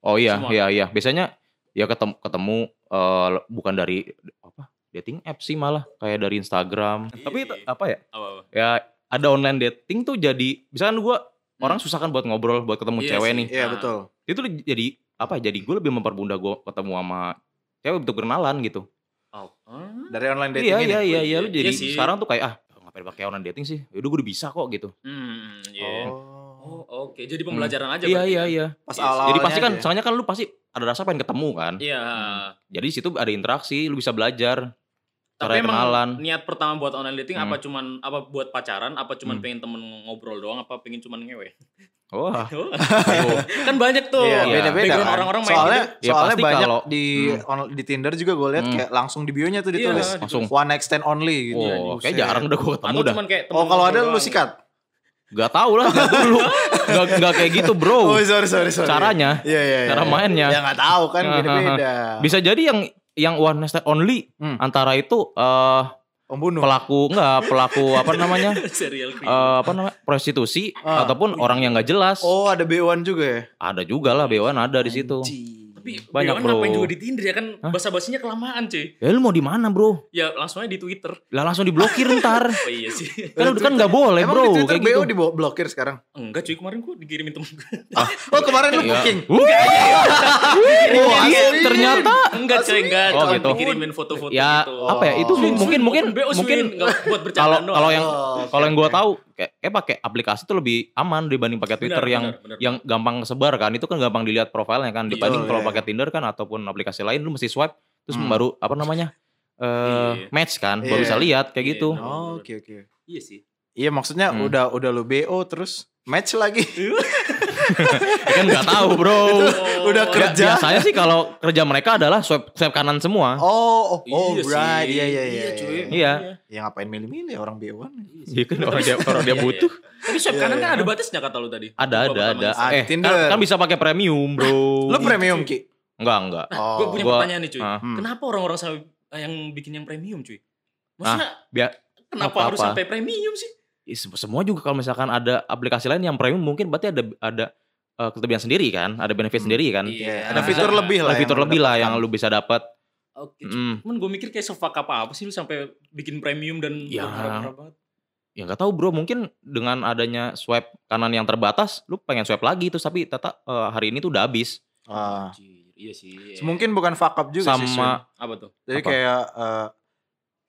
S4: Oh, iya,
S3: semua.
S4: iya, iya. Biasanya ya ketemu, ketemu eh, bukan dari apa dating app sih malah kayak dari Instagram.
S3: Iya.
S4: Tapi itu apa ya?
S3: Apa-apa.
S4: Ya ada online dating tuh jadi, misalkan gue orang susah kan buat ngobrol, buat ketemu
S3: Hmm. Iya
S4: cewek
S3: sih.
S4: nih.
S1: Iya,
S3: Nah.
S1: betul.
S4: Itu jadi apa? ya, Jadi gue lebih memperbunda gue ketemu sama cewek untuk kenalan gitu.
S3: Oh. Hmm.
S1: Dari online dating
S4: Iya
S1: ini.
S4: iya iya iya lu
S3: Iya
S4: jadi
S3: sih.
S4: sekarang tuh kayak ah ngapain pakai online dating sih? Yaudah gue udah bisa kok gitu.
S3: Hmm, iya.
S1: Oh.
S3: Oh, oke. Jadi pembelajaran aja
S4: Iya
S3: berarti
S4: iya
S3: kan?
S4: iya.
S1: Pas
S3: Iya sih.
S1: awal
S4: Jadi pasti kan soalnya kan lu pasti ada rasa pengen ketemu kan.
S3: Iya.
S4: Jadi di situ ada interaksi, lu bisa belajar
S3: Tapi
S4: cara
S3: emang
S4: kenalan.
S3: niat pertama buat online dating
S4: Hmm.
S3: apa cuman apa buat pacaran, apa cuman
S4: Hmm.
S3: pengen temen ngobrol doang, apa pengen cuman ngewe?
S1: (laughs)
S4: Wah.
S3: Oh. kan banyak tuh.
S1: Iya,
S4: Iya.
S1: beda-beda
S3: Background
S1: kan.
S3: orang-orang main
S1: soalnya
S4: gitu. Ya,
S1: soalnya
S4: pasti
S1: banyak
S4: kalau-
S1: di
S4: Hmm.
S1: on- di Tinder juga gue lihat
S4: Hmm.
S1: kayak langsung di bio-nya tuh
S3: Iya, Anu
S1: ditulis
S4: langsung.
S1: one night stand only gitu.
S4: Wah,
S1: Buset.
S4: kayak jarang udah gue ketemu
S3: Atau
S4: dah.
S3: cuman kayak temen
S1: Oh, kalau ada
S3: ngobrol
S1: lu
S3: doang.
S1: sikat.
S4: Gak tau lah, gak dulu. gak, gak kayak gitu bro.
S1: sorry Oh, iya, sorry
S4: Caranya,
S1: Iya iya. iya.
S4: cara mainnya.
S1: Ya nggak tahu
S4: (laughs)
S1: kan
S4: Hahaha.
S1: beda-beda.
S4: Bisa jadi yang yang one night stand only
S1: Hmm.
S4: antara itu eh
S1: Pembunuh.
S4: pelaku enggak pelaku apa
S3: (laughs)
S4: namanya
S3: (laughs) serial creator.
S4: eh, apa namanya prostitusi
S1: Ah.
S4: ataupun orang yang nggak jelas
S1: Oh ada B1 juga ya.
S4: ada juga lah bewan ada di situ
S3: Tapi
S4: banyak,
S3: banyak ngapain
S4: bro.
S3: juga di Tinder ya kan basa-basinya kelamaan, cuy.
S4: ya lu mau di mana bro
S3: Ya langsung aja di Twitter.
S4: lah langsung diblokir
S3: (laughs)
S4: ntar
S3: Oh iya sih.
S4: kan udah kan nggak boleh
S1: Emang
S4: bro
S1: di Twitter
S4: kayak
S1: BO
S4: gitu
S1: diblokir sekarang.
S3: Enggak cuy, kemarin gua dikirimin temen gue.
S1: Oh kemarin lu
S4: Iya.
S1: booking.
S4: Wuh, Iya,
S1: Oh, asli.
S4: ternyata
S3: (laughs) Enggak cuy, enggak.
S4: Oh,
S3: Cuman
S4: gitu.
S3: dikirimin foto-foto
S4: ya
S3: gitu.
S4: apa ya itu
S1: Oh.
S4: mungkin mungkin
S3: BO
S4: mungkin (laughs)
S3: mungkin buat bercanda
S4: kalau kalau yang
S1: Oh.
S3: iya,
S4: Kalau yang gue tahu kayak, kayak pakai aplikasi tuh lebih aman dibanding pakai Twitter
S3: Benar,
S4: yang ya-
S3: benar, benar.
S4: yang gampang kesebar kan. Itu kan gampang dilihat profilnya kan.
S3: Iya.
S1: Betul,
S4: Dibanding kalau
S1: iya.
S4: pakai Tinder kan ataupun aplikasi lain lu mesti swipe terus
S1: Hmm.
S4: baru apa namanya?
S3: Iya.
S4: eh match kan baru
S1: Iya.
S4: bisa lihat kayak
S3: Iya,
S4: gitu.
S3: benar.
S1: Oh, oke oke.
S3: Iya
S4: (laughs)
S3: sih.
S1: Iya maksudnya
S4: Hmm.
S1: udah udah lu BO terus match lagi.
S3: iya.
S4: Ya kan nggak
S3: (laughs)
S4: tahu, Bro.
S1: udah
S4: Ya,
S1: kerja.
S4: biasanya sih kalau kerja mereka adalah swipe swipe kanan semua.
S1: Oh, oh, oh
S3: Iya
S1: right.
S3: sih.
S1: Iya iya iya.
S3: Iya, cuy.
S1: iya.
S4: Iya.
S1: Ya ngapain milih-milih orang BO kan.
S4: Iya kan orang dia orang dia
S3: Iya,
S4: butuh.
S3: iya. Tapi swipe
S1: Iya,
S3: kanan
S1: iya.
S3: kan ada batasnya kata lu tadi.
S4: Ada
S3: Lupa
S4: ada
S3: pertama
S4: ada.
S1: Ah,
S4: Eh,
S1: Tinder.
S4: kan, kan bisa pakai premium, Bro.
S1: (laughs) Lu premium Ki.
S4: Enggak, enggak.
S1: Oh.
S3: Gue punya
S4: Gua-
S3: pertanyaan nih cuy.
S4: Ah.
S1: Hmm.
S3: Kenapa orang-orang sampai eh, yang bikin yang premium cuy? Maksudnya
S4: biar-
S3: kenapa
S4: apa-apa.
S3: harus sampai premium sih?
S4: Ih, se- semua juga kalau misalkan ada aplikasi lain yang premium mungkin berarti ada ada eh, kelebihan sendiri kan, ada benefit
S1: Hmm.
S4: sendiri kan.
S1: Iya,
S3: Iya.
S1: ada fitur
S3: Nah,
S1: lebih lah.
S4: Ada fitur
S1: yang Iya.
S4: lebih lah
S1: mendapatkan.
S4: yang lu bisa dapat.
S3: Oke. cuy.
S4: Mm.
S3: Cuman gue mikir kayak sefak apa apa sih lu sampai bikin premium dan
S4: Ya.
S3: berharap-harap banget.
S4: Ya nggak tahu bro, mungkin dengan adanya swipe kanan yang terbatas, lu pengen swipe lagi terus tapi tata eh, hari ini tuh udah habis.
S1: Ah.
S3: Anjir, iya sih.
S1: Mungkin bukan fuck up juga sih. Sun.
S4: sama
S3: apa tuh?
S1: Jadi
S4: apa?
S1: kayak eh,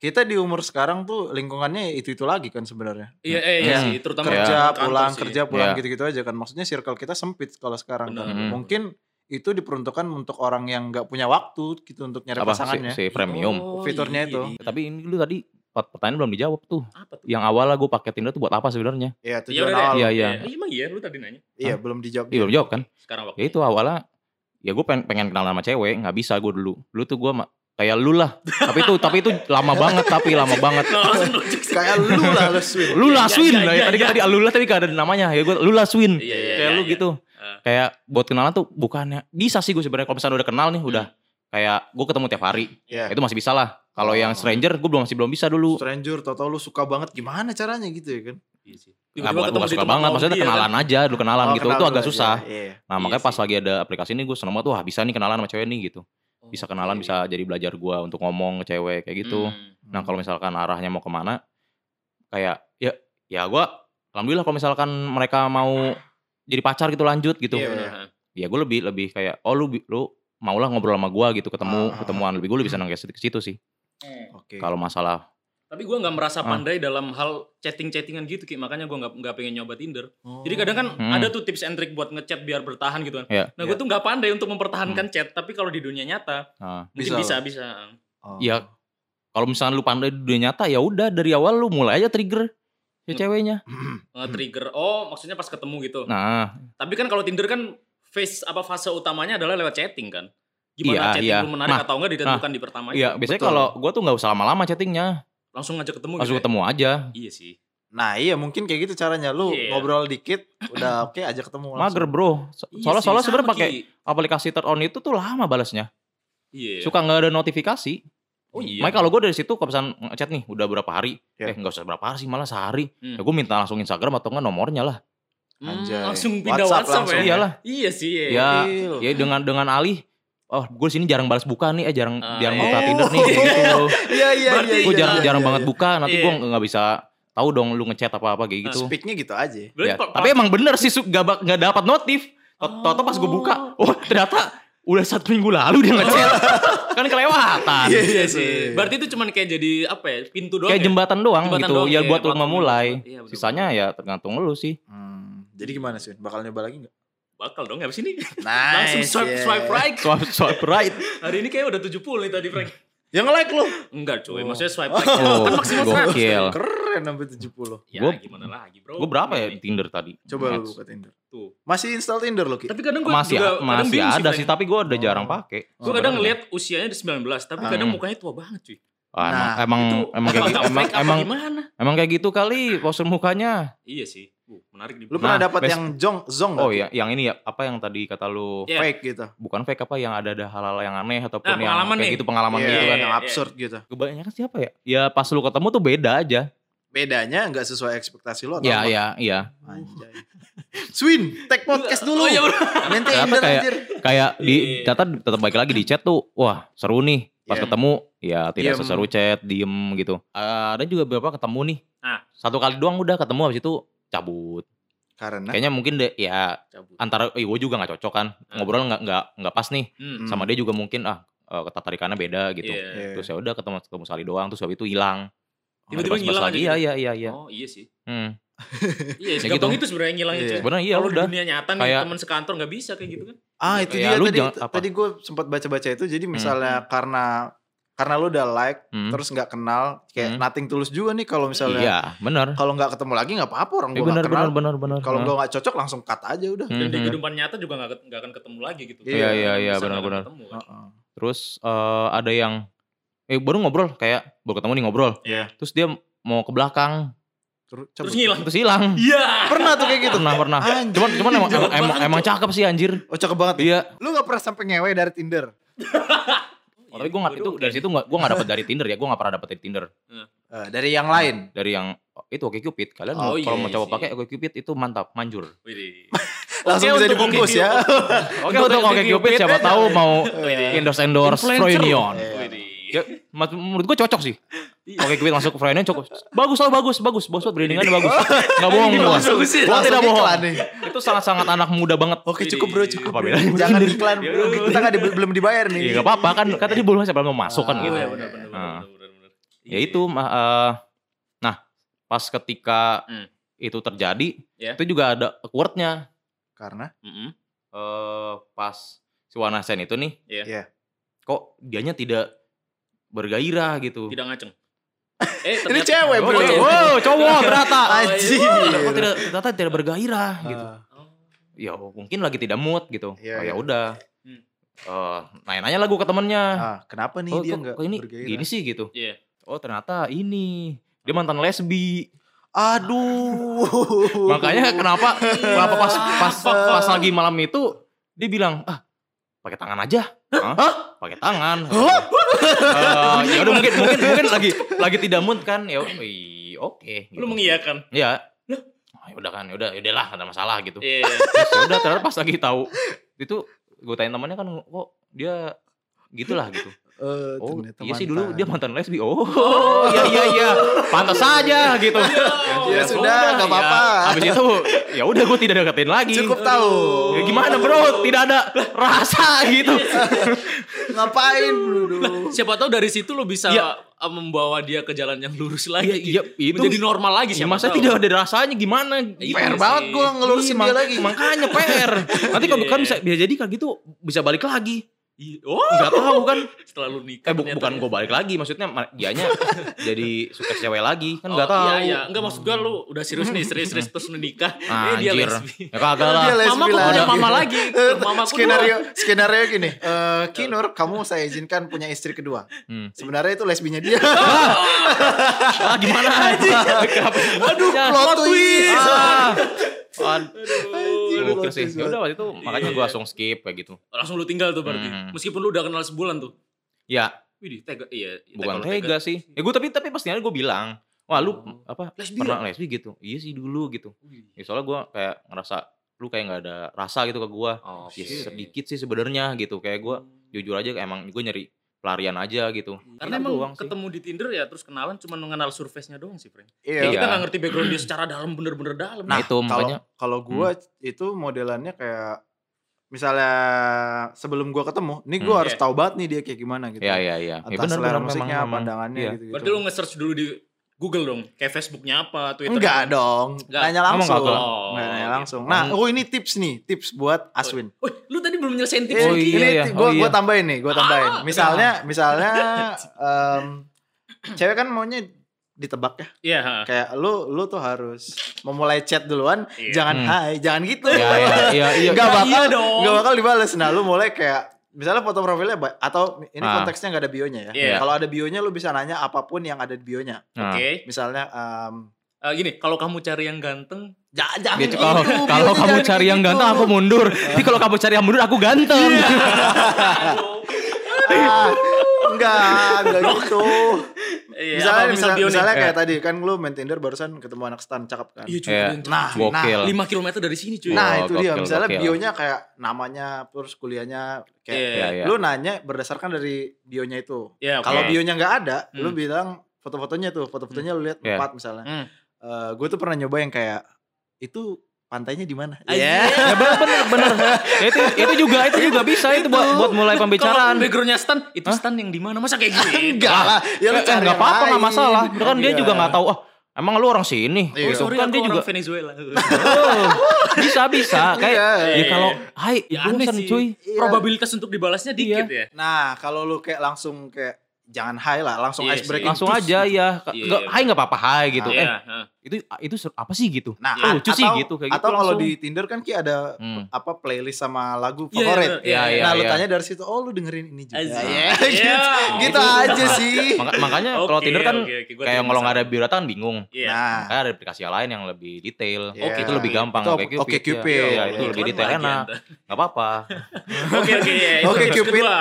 S1: kita di umur sekarang tuh lingkungannya itu-itu lagi kan sebenarnya.
S3: Iya, eh, iya
S4: Hmm.
S3: sih, terutama
S1: kerja
S3: kantor
S1: pulang
S3: sih.
S1: kerja pulang
S4: Iya.
S1: gitu-gitu aja kan maksudnya circle kita sempit kalau sekarang kan.
S3: Benar. Oh,
S4: Hmm.
S1: mungkin itu diperuntukkan untuk orang yang nggak punya waktu gitu untuk nyari
S4: apa si,
S1: pasangannya
S4: si premium.
S3: Oh,
S1: Fiturnya
S3: iya,
S1: itu.
S3: iya.
S4: Tapi ya, ini lu tadi per- pertanyaan belum dijawab tuh.
S3: apa tuh?
S4: Yang awal lah gue pakai Tinder tuh buat apa sebenarnya?
S1: ya
S3: Iya,
S1: tujuan
S3: udah deh.
S1: awal
S4: Iya,
S1: iya,
S4: iya.
S3: Eh, emang iya lu tadi nanya.
S1: belum dijawab
S4: Iya belum jawab kan?
S3: Sekarang
S4: Ya
S3: waktu. (laughs)
S4: itu awalnya ya gue pengen, pengen kenal sama cewek, nggak bisa gue dulu. Dulu tuh gue kayak lu lah. tapi itu tapi itu lama banget, tapi lama banget.
S3: Nah, langsung nunjuk sih.
S1: kayak lu lah lu Swin.
S4: Lu
S3: Iya,
S4: Laswin
S3: iya,
S4: lah ya.
S3: iya,
S4: tadi
S3: iya.
S4: tadi Lula tapi gak ada namanya ya gue Lula
S3: Iya,
S4: Swin
S3: iya,
S4: kayak
S3: iya,
S4: lu
S3: iya.
S4: gitu
S3: Ah.
S4: kayak buat kenalan tuh bukannya bisa sih gue sebenarnya kalau misalnya udah kenal nih udah
S3: Hmm.
S4: kayak gue ketemu tiap hari
S1: Iya.
S4: itu masih bisa lah kalau yang
S1: Oh.
S4: stranger gue belum masih belum bisa dulu
S1: stranger tau lu suka banget gimana caranya gitu ya kan
S3: Iya sih.
S4: Nah,
S3: Tiba-tiba
S4: bukan
S3: ketemu di
S4: gak suka
S3: tempat
S4: banget
S3: kopi,
S4: maksudnya
S3: ya kan?
S4: kenalan aja dulu kenalan
S1: Oh,
S4: gitu
S1: kenal
S4: itu
S1: lu
S4: agak
S1: aja.
S4: susah
S1: iya.
S4: nah
S3: Iya
S4: makanya pas
S3: sih.
S4: lagi ada aplikasi ini gue seneng banget wah bisa nih kenalan sama cewek nih gitu
S3: kan?
S4: bisa kenalan
S3: Oh,
S4: bisa jadi belajar gue untuk ngomong ke cewek kayak gitu
S3: Hmm.
S4: Nah kalau misalkan arahnya mau kemana, kayak ya ya gue alhamdulillah kalau misalkan mereka mau jadi pacar gitu lanjut gitu,
S1: Iya, iya.
S4: ya gue lebih lebih kayak oh lu bi- lu maulah ngobrol sama gue gitu ketemu
S1: Ah.
S4: ketemuan lebih gue lebih senang kayak situ- ke situ sih.
S3: Hmm.
S1: oke
S4: Kalau masalah
S3: Tapi gue nggak merasa
S4: Ah.
S3: pandai dalam hal chatting-chattingan gitu, Ki. makanya gue nggak nggak pengen nyoba Tinder.
S1: Oh.
S3: Jadi kadang kan
S4: Hmm.
S3: ada tuh tips and trick buat ngechat biar bertahan gitu kan.
S4: Iya.
S3: Nah
S1: Ya.
S3: gue tuh nggak pandai untuk
S4: Hmm.
S3: mempertahankan chat, tapi kalau di dunia nyata
S4: ah,
S3: mungkin
S1: Bisa
S3: bisa bisa.
S1: Oh.
S4: Iya. kalau misalnya lu pandai di dunia nyata ya udah dari awal lu mulai aja trigger ya ceweknya.
S3: Nge-trigger. Oh maksudnya pas ketemu gitu.
S4: Hmm. Nah
S3: Tapi kan kalau Tinder kan face apa fase utamanya adalah lewat chatting kan.
S4: Iya,
S3: Gimana chatting
S4: iya.
S3: lu menarik
S4: Nah,
S3: atau enggak ditentukan di pertama itu.
S4: iya biasanya
S1: betul.
S4: kalau gue tuh nggak usah lama-lama chattingnya
S3: Langsung ngajak ketemu gitu.
S4: langsung
S3: ya?
S4: ketemu aja.
S3: Iya sih.
S1: nah iya mungkin kayak gitu caranya lu
S3: Iya.
S1: ngobrol dikit
S4: (clears throat)
S1: udah oke aja ketemu langsung.
S4: Mager bro, So-
S3: Iya
S4: soalnya
S3: sih, sama,
S4: soalnya sebenarnya pakai
S3: Ki.
S4: aplikasi turn on itu tuh lama balasnya,
S3: Iya.
S4: suka nggak ada notifikasi.
S3: Oh iya.
S4: Makanya kalau gue dari situ kalau misalkan ngechat nih udah berapa hari,
S1: Iya.
S4: eh nggak usah berapa hari sih malah sehari.
S3: Hmm.
S4: Ya gue minta langsung Instagram atau enggak nomornya lah.
S3: Hmm,
S1: Anjay.
S3: langsung pindah
S1: WhatsApp
S3: WhatsApp,
S1: langsung.
S3: ya.
S4: Iyalah.
S3: Iya sih. Iya.
S4: Ya,
S1: Gokil.
S4: ya dengan dengan alih Oh, gue sini jarang balas buka nih, eh jarang
S3: Ah,
S4: jarang
S3: iya.
S4: buka
S1: Oh.
S4: Tinder nih, kayak gitu.
S1: iya iya
S3: Berarti
S1: iya
S4: gue
S1: iya,
S4: jarang
S1: iya,
S4: jarang
S1: iya,
S4: banget
S1: iya.
S4: buka, nanti
S3: Iya. Nah,
S4: gue nggak bisa tahu dong lu ngechat apa apa kayak gitu.
S1: Speaknya gitu aja
S3: Berarti
S4: Ya,
S3: pa-
S4: Tapi emang bener sih su- nggak bak- nggak dapat notif. Tot- Toto pas gue buka, oh ternyata udah satu minggu lalu dia ngechat,
S3: (laughs)
S4: kan kelewatan.
S1: Iya, iya
S3: (laughs) Iya
S1: sih.
S3: sih. Berarti itu cuman kayak jadi apa ya? Pintu doang.
S4: Kayak
S3: ya?
S4: jembatan doang
S3: Jembatan
S4: gitu,
S3: doang,
S4: ya
S3: iya,
S4: buat lu
S3: platform
S4: memulai.
S3: doang. Iya, betul.
S4: Sisanya ya tergantung lu sih.
S1: Hmm, jadi gimana sih? Bakal nyoba lagi nggak?
S3: bakal dong habis ini.
S1: Nice,
S3: (laughs) Langsung swipe
S1: yeah.
S3: swipe right.
S4: Swipe swipe
S3: (laughs)
S4: right.
S3: Hari ini kayak udah 70 nih tadi Frank.
S1: Yang like lo.
S3: Enggak cuy,
S1: Oh.
S3: maksudnya swipe right.
S4: Oh,
S3: kan maksimal 100.
S4: gokil.
S1: Keren sampai 70.
S3: Ya
S4: Gua-
S3: gimana lagi bro. Gitu.
S4: Gue berapa ya
S3: Ini.
S4: Tinder tadi?
S1: Coba
S4: Match.
S1: lu buka Tinder.
S3: Tuh.
S1: Masih install Tinder lo, Ki?
S3: Tapi kadang gue
S4: Masih
S3: juga kadang
S4: masih
S3: bingung
S4: ada sih,
S3: sih.
S4: tapi Oh, gue udah
S1: Oh.
S4: jarang pakai.
S3: Gue kadang ngeliat usianya di 19, tapi kadang mukanya tua banget cuy.
S4: Ah,
S1: Nah,
S4: emang
S3: Itu
S4: Ah. emang
S3: (laughs)
S4: emang kayak gitu,
S3: apakah
S4: emang
S3: fake apa
S4: emang
S3: gimana?
S4: emang kayak gitu kali postur mukanya.
S3: Iya sih. Uh, menarik di.
S1: Lu
S4: (laughs)
S1: pernah
S4: Nah,
S1: dapat
S4: best-
S1: yang jong zong nggak,
S4: Oh
S1: Ki?
S4: ya, yang ini ya apa yang tadi kata lu
S3: Iya.
S1: Fake gitu.
S4: bukan fake apa yang ada ada hal-hal yang aneh ataupun
S3: Nah,
S4: yang
S3: pengalaman
S4: kayak
S3: nih.
S4: gitu pengalaman
S1: Iya,
S4: gitu kan.
S1: yang
S3: iya.
S1: absurd gitu.
S4: Kebanyakan siapa ya? Ya pas lu ketemu tuh beda aja.
S1: Bedanya nggak sesuai ekspektasi lo atau
S4: Iya
S1: apa?
S4: iya iya.
S1: Anjay. Swin, tag podcast dulu.
S3: Oh iya udah.
S1: Main
S4: Ternyata
S1: Tinder
S4: kayak-
S1: anjir.
S4: Kayak di
S3: Iya.
S4: tetap tetap balik lagi di chat tuh. Wah, seru nih. Pas
S1: Iya.
S4: ketemu ya tidak
S1: Diem.
S4: seseru chat, diem gitu. Ah, Ada juga beberapa ketemu nih.
S3: Ah.
S4: Satu kali doang udah ketemu habis itu cabut.
S1: Karena
S3: Nah.
S4: Kayaknya mungkin deh ya
S3: Cabut.
S4: antara eh, gue juga nggak cocok kan
S3: Hmm.
S4: ngobrol nggak nggak nggak pas nih
S3: Hmm.
S4: sama dia juga mungkin ah eh, ketertarikannya beda gitu
S3: Iya.
S1: Iya.
S4: terus ya udah ketemu ketemu sekali doang terus habis itu hilang
S3: Tiba-tiba
S4: Ada
S3: ngilang aja
S4: pas-pas lagi.
S3: gitu.
S4: Iya iya iya iya.
S3: Oh iya sih.
S4: Hmm.
S3: Iya,
S4: Ya
S3: segampang
S4: gitu.
S3: itu sebenarnya ngilangnya.
S1: Iya.
S3: cuy.
S4: Sebenarnya iya
S3: Kalau di
S4: udah.
S3: dunia nyata nih
S4: Kayak-
S3: teman sekantor nggak bisa kayak gitu kan.
S1: Ah itu
S4: Ya,
S1: dia
S4: lu
S1: tadi
S4: jangan- apa?
S1: tadi gue sempat baca-baca itu jadi misalnya karena karena lu udah like
S4: Hmm.
S1: terus nggak kenal kayak
S4: Hmm.
S1: nothing tulus juga nih kalau
S3: ya.
S1: misalnya
S4: Iya, benar.
S1: kalau nggak ketemu lagi nggak apa-apa orang
S4: Eh,
S1: gue
S4: benar
S1: nggak kenal
S4: benar benar benar.
S1: kalau
S4: Nah.
S1: gue nggak cocok langsung cut aja udah
S3: Dan di
S4: Mhm.
S3: kehidupan nyata juga nggak nggak akan ketemu lagi gitu.
S1: Iya,
S3: Nggak
S4: iya, iya,
S3: bisa, nggak akan
S4: benar-benar.
S3: ketemu kan.
S1: Heeh.
S4: Terus eh, ada yang eh baru ngobrol kayak baru ketemu nih ngobrol.
S1: Iya.
S4: Terus dia mau ke belakang,
S1: Terus cabut.
S3: Terus ngilang.
S4: terus hilang.
S3: Iya.
S1: pernah tuh kayak gitu
S4: Pernah pernah.
S1: Anjir.
S4: Ah, Cuman cuman emang
S3: Jorok
S4: emang, emang,
S3: banget,
S4: emang
S3: Cok.
S4: cakep sih anjir.
S1: oh cakep banget ya.
S4: Iya.
S1: lu nggak pernah sampai ngewe dari Tinder
S4: Oh, tapi gue nggak itu dari situ nggak gue nggak dapet dari Tinder ya gue nggak pernah dapet dari Tinder
S1: Eh, dari yang lain
S4: dari yang oh, itu Oke Cupid kalian
S3: Oh,
S4: mau-
S3: iya
S4: kalau mau coba
S3: sih.
S4: pakai Oke Cupid itu mantap manjur
S3: Widih.
S1: langsung bisa
S3: Oke, untuk
S1: dibungkus
S3: Oke
S1: ya
S4: oke untuk Oke Cupid siapa tahu mau endorse endorse
S3: Influencer.
S4: Froynion
S1: Iya.
S3: Widih.
S4: menurut gue cocok sih Oke Cupid masuk ke Froynion cocok bagus loh bagus bagus bos buat brandingannya bagus nggak bohong
S3: Ini
S4: gua.
S3: bagus sih.
S4: Gua
S1: Langsung
S4: tidak bohong
S1: iklan nih.
S4: itu sangat sangat anak muda banget
S1: oke cukup bro cukup
S4: Apa
S1: bro.
S4: bedanya?
S1: jangan iklan bro kita nggak di- belum dibayar nih
S4: Iya nggak apa-apa kan kan tadi belum siapa mau masuk kan
S1: Ah,
S4: gitu
S3: Iya,
S1: iya.
S3: benar benar benar,
S4: Ah.
S3: benar, benar.
S4: ya itu ma- eh, nah pas ketika
S3: Hmm.
S4: itu terjadi
S3: Ya.
S4: itu juga ada awkwardnya
S1: karena
S3: Mhm.
S4: eh pas si Wanasen itu nih,
S3: Iya.
S1: Iya.
S4: kok dianya tidak bergairah gitu.
S3: Tidak ngaceng. Eh,
S1: ini
S3: ternyata-
S1: cewek
S3: Oh,
S1: bro
S3: iya.
S1: Wow,
S4: Oh, cowok ternyata.
S1: Anjir.
S4: Kok tidak ternyata tidak bergairah gitu.
S1: gitu
S3: Oh.
S4: Ya mungkin lagi tidak mood gitu.
S1: Iya,
S4: Oh,
S1: iya.
S4: ya udah.
S3: Hmm.
S4: Eh, nanya-nanya lagu ke temennya.
S1: ah kenapa nih
S4: oh,
S1: dia
S4: kok-
S1: nggak
S4: kok ini
S1: bergairah?
S4: gini sih gitu.
S3: Iya.
S4: Oh, ternyata ini dia mantan lesbi.
S1: aduh
S4: Makanya kenapa kenapa pas pas
S1: Fuck, fuck.
S4: pas lagi malam itu dia bilang, "Ah, pakai tangan aja." Hah? Pakai tangan.
S1: Hah?
S4: Eh, ya udah mungkin mungkin mungkin lagi lagi tidak mood kan ya ih, oke gitu.
S3: Lu mengiyakan.
S4: ya Ah, ya udah kan ya udah ya udahlah nggak ada masalah gitu
S3: Iya.
S4: Terus ya udah ternyata pas lagi tahu itu gue tanya temannya kan kok dia gitulah gitu
S1: Eh,
S4: oh
S1: ternyata
S4: iya sih dulu
S1: mantan.
S4: dia mantan lesbi oh iya iya iya pantas saja gitu
S3: (laughs)
S1: Ya
S3: Iya,
S4: (laughs) Ya
S1: sudah, nggak
S4: ya.
S1: apa-apa.
S4: habis itu ya udah gue tidak deketin lagi
S1: cukup tahu
S4: Ya gimana bro tidak ada rasa gitu
S1: ngapain dulu
S3: Siapa tahu dari situ lu bisa
S4: Iya.
S3: eh, membawa dia ke jalan yang lurus lagi.
S4: Iya, iya, itu-
S3: Menjadi normal lagi
S4: Ya,
S3: siapa
S4: masa
S3: tahu.
S4: tidak ada rasanya gimana? Gitu.
S1: PR
S3: sih.
S1: banget gue Kan ngelurusin
S4: Iya,
S1: dia
S4: mak-
S1: lagi.
S4: Makanya PR. Nanti kalau
S3: Iya.
S4: kan bisa bisa jadi kan gitu bisa balik lagi.
S3: Iya. Oh,
S4: Enggak tahu kan.
S3: setelah lu nikah.
S4: Eh
S3: ternyata.
S4: bu-
S3: ya.
S4: bukan gue balik lagi maksudnya ma- dianya jadi suka cewek lagi kan enggak
S3: Oh,
S4: tahu. Hmm.
S3: Iya, iya. Enggak maksud gue lu udah serius nih, serius-serius terus lu nikah. eh dia
S4: Anjir.
S3: lesbi.
S4: Ya kagak lah. Iya.
S1: Dia lesbi
S3: Mama kok
S1: lagi.
S3: punya mama lagi.
S1: Eh,
S3: Mama aku
S1: skenario skenario gini eh, Kinur kamu saya izinkan punya istri kedua
S4: Hmm.
S1: sebenarnya itu lesbinya
S4: (laughs)
S1: dia
S4: Ah gimana? (laughs) Ya, Aduh,
S1: plot twist. Ah,
S4: Ah.
S3: Aduh.
S1: Aduh,
S4: Gokil
S1: plot
S4: sih.
S1: twist
S4: Ya udah waktu itu makanya
S3: Iya.
S4: gue langsung skip kayak gitu.
S3: Langsung lu tinggal tuh berarti.
S4: Hmm.
S3: Meskipun lu udah kenal sebulan tuh.
S4: Ya,
S3: Widih, tega. Iya, iya,
S4: bukan
S3: kalau
S4: tega sih. Ya gue tapi tapi pastinya gue bilang, "Wah, lu apa
S3: Lesbi
S4: pernah lesbi gitu?" Iya sih dulu gitu. Ya soalnya gue kayak ngerasa lu kayak nggak ada rasa gitu ke gue.
S3: Oh,
S4: Ya
S3: shit.
S4: sedikit sih sebenarnya gitu. Kayak gue
S3: Hmm.
S4: jujur aja emang gue nyari pelarian aja gitu.
S3: Karena
S4: Itu
S3: emang
S4: doang sih.
S3: ketemu di Tinder ya terus kenalan cuma mengenal surface-nya doang sih, Frank. Kayak
S1: iya
S4: Iya.
S3: Kita nggak ngerti background dia secara dalam bener-bener dalam.
S4: Nah, itu
S1: kalau
S4: makanya
S1: kalau gue itu modelannya kayak misalnya sebelum gue ketemu nih gue
S4: Hmm.
S1: harus tahu banget nih dia kayak gimana gitu
S4: ya ya ya. Ya
S1: Atas selera musiknya,
S4: memang.
S1: pandangannya
S4: Iya.
S1: gitu,
S3: berarti lu nge-search dulu di Google dong. Kayak Facebooknya apa, Twitter.
S1: Enggak dong,
S3: Enggak.
S1: nanya
S4: Kamu
S1: langsung.
S4: enggak gitu. tahu.
S1: Enggak, nanya
S3: Oh,
S1: langsung. Nah, oh ini tips nih, tips buat Aswin.
S3: Wih, lu tadi belum nyelesain tips
S1: Eh,
S4: Oh,
S3: Ki.
S4: iya,
S1: ini
S4: iya.
S1: gue
S4: Oh, iya. Ah,
S1: tambahin nih, gue tambahin. misalnya,
S4: (laughs)
S1: misalnya em, cewek kan maunya ditebak ya.
S3: Iya, ha.
S1: Kayak lu lu tuh harus memulai chat duluan,
S3: Iya.
S1: jangan
S4: Hmm.
S1: hai, jangan gitu.
S4: Ya ya ya iya.
S1: Enggak
S3: Iya,
S1: bakal
S3: iya dong.
S1: enggak bakal dibales. Nah, lu mulai kayak misalnya foto profilnya ba- atau ini
S4: Ah.
S1: konteksnya nggak ada bionya ya.
S3: Iya.
S1: Kalau ada bionya lu bisa nanya apapun yang ada di bionya.
S4: Nah,
S3: Oke.
S1: Misalnya
S3: (laughs)
S1: em,
S3: Eh, gini, kalau kamu cari yang ganteng,
S1: Ja- jangan
S4: dia- kalau
S1: gitu,
S4: kalau
S1: bionya
S4: kamu
S1: jangan
S4: cari yang
S1: gitu.
S4: ganteng aku mundur. Tapi kalau kamu cari yang mundur aku ganteng.
S3: Iya,
S1: Ah, enggak, enggak gitu.
S3: Iya,
S1: Misalnya,
S3: apa,
S1: misal-
S3: bio nih? Eh.
S1: misalnya kayak
S4: Iya.
S1: tadi kan lu main Tinder barusan ketemu anak stan cakep kan.
S3: Iya, cuy.
S4: Iya.
S3: keren, cuy.
S1: Nah,
S4: Gokil.
S3: 5 km dari sini, cuy.
S1: nah
S4: Wah,
S1: itu dia.
S4: gokil,
S1: Misalnya
S4: gokil.
S1: bionya kayak namanya terus kuliahnya kayak
S4: Ya,
S3: Iya.
S4: ya.
S1: lu nanya berdasarkan dari bionya itu.
S3: Iya, oke.
S1: Kalau bionya nggak ada, lu
S3: Hmm.
S1: bilang foto-fotonya tuh, foto-fotonya lu lihat
S4: Iya.
S1: empat misalnya.
S3: Hmm.
S1: Eh gue tuh pernah nyoba yang kayak itu pantainya di mana?
S3: Iya.
S1: Iya.
S4: Ya bener bener bener. Ya, itu itu juga itu juga bisa itu, buat buat mulai
S3: Kalau
S4: pembicaraan. Eh,
S3: backgroundnya Stan, itu Stan yang di mana? Masa kayak gitu gini?
S1: Enggak lah. (laughs) Ya lu
S4: Eh,
S1: cari
S4: nggak
S1: yang
S4: apa-apa nggak
S1: lain.
S4: masalah. Kan dia
S1: Iya.
S4: juga nggak tahu. Ah emang lu orang sini.
S1: Iya.
S3: Oh,
S4: Gitu.
S3: sorry,
S4: kan
S3: aku
S4: dia juga
S3: orang Venezuela.
S4: Oh, bisa bisa kayak
S1: Iya,
S4: ya
S3: iya,
S4: kalau
S3: iya.
S4: hai
S3: ya aneh
S4: bosan
S3: sih.
S4: cuy.
S3: (laughs) Probabilitas untuk dibalasnya dikit ya.
S1: Nah, kalau lu kayak langsung kayak jangan high lah, langsung
S3: Iya
S1: ice breaking.
S3: sih.
S4: Langsung
S1: Terus-
S4: aja ya.
S3: Iya,
S4: Enggak
S3: iya.
S4: hai nggak apa-apa hai gitu.
S3: Iya,
S4: Eh
S3: heeh.
S4: itu itu ser- apa sih gitu?
S1: Nah,
S4: Itu
S1: a-
S4: lucu
S1: atau,
S4: sih gitu kayak gitu.
S1: atau kalau
S4: langsung.
S1: di Tinder kan kayak ada
S4: Hmm.
S1: apa playlist sama lagu
S3: Iya,
S1: favorit.
S3: bener. Iya,
S4: iya,
S1: nah, lu
S4: iya.
S1: tanya dari situ, oh lu dengerin ini juga.
S3: Azim.
S1: Iya,
S3: Iya.
S1: (laughs) gitu, gitu aja sih.
S4: Maka- makanya kalau
S3: Oke,
S4: Tinder kan
S3: oke, oke, gua
S4: kayak
S3: terima
S4: kalau nggak ada
S3: saran.
S4: biodata kan bingung.
S3: Iya.
S1: Nah,
S4: Makanya ada aplikasi lain yang lebih detail.
S1: Iya.
S4: Oke, itu lebih gampang.
S1: Itu
S4: kayak
S1: Oke
S4: Cupid,
S1: Cupid.
S4: Ya,
S1: Iya,
S4: Ya, itu
S1: iya.
S4: lebih
S3: Cuman
S4: detail
S3: lagi
S4: enak.
S3: Anda.
S4: Nggak apa-apa.
S3: Oke oke. ya, itu
S1: Oke,
S3: tips
S1: Cupid.
S3: kedua.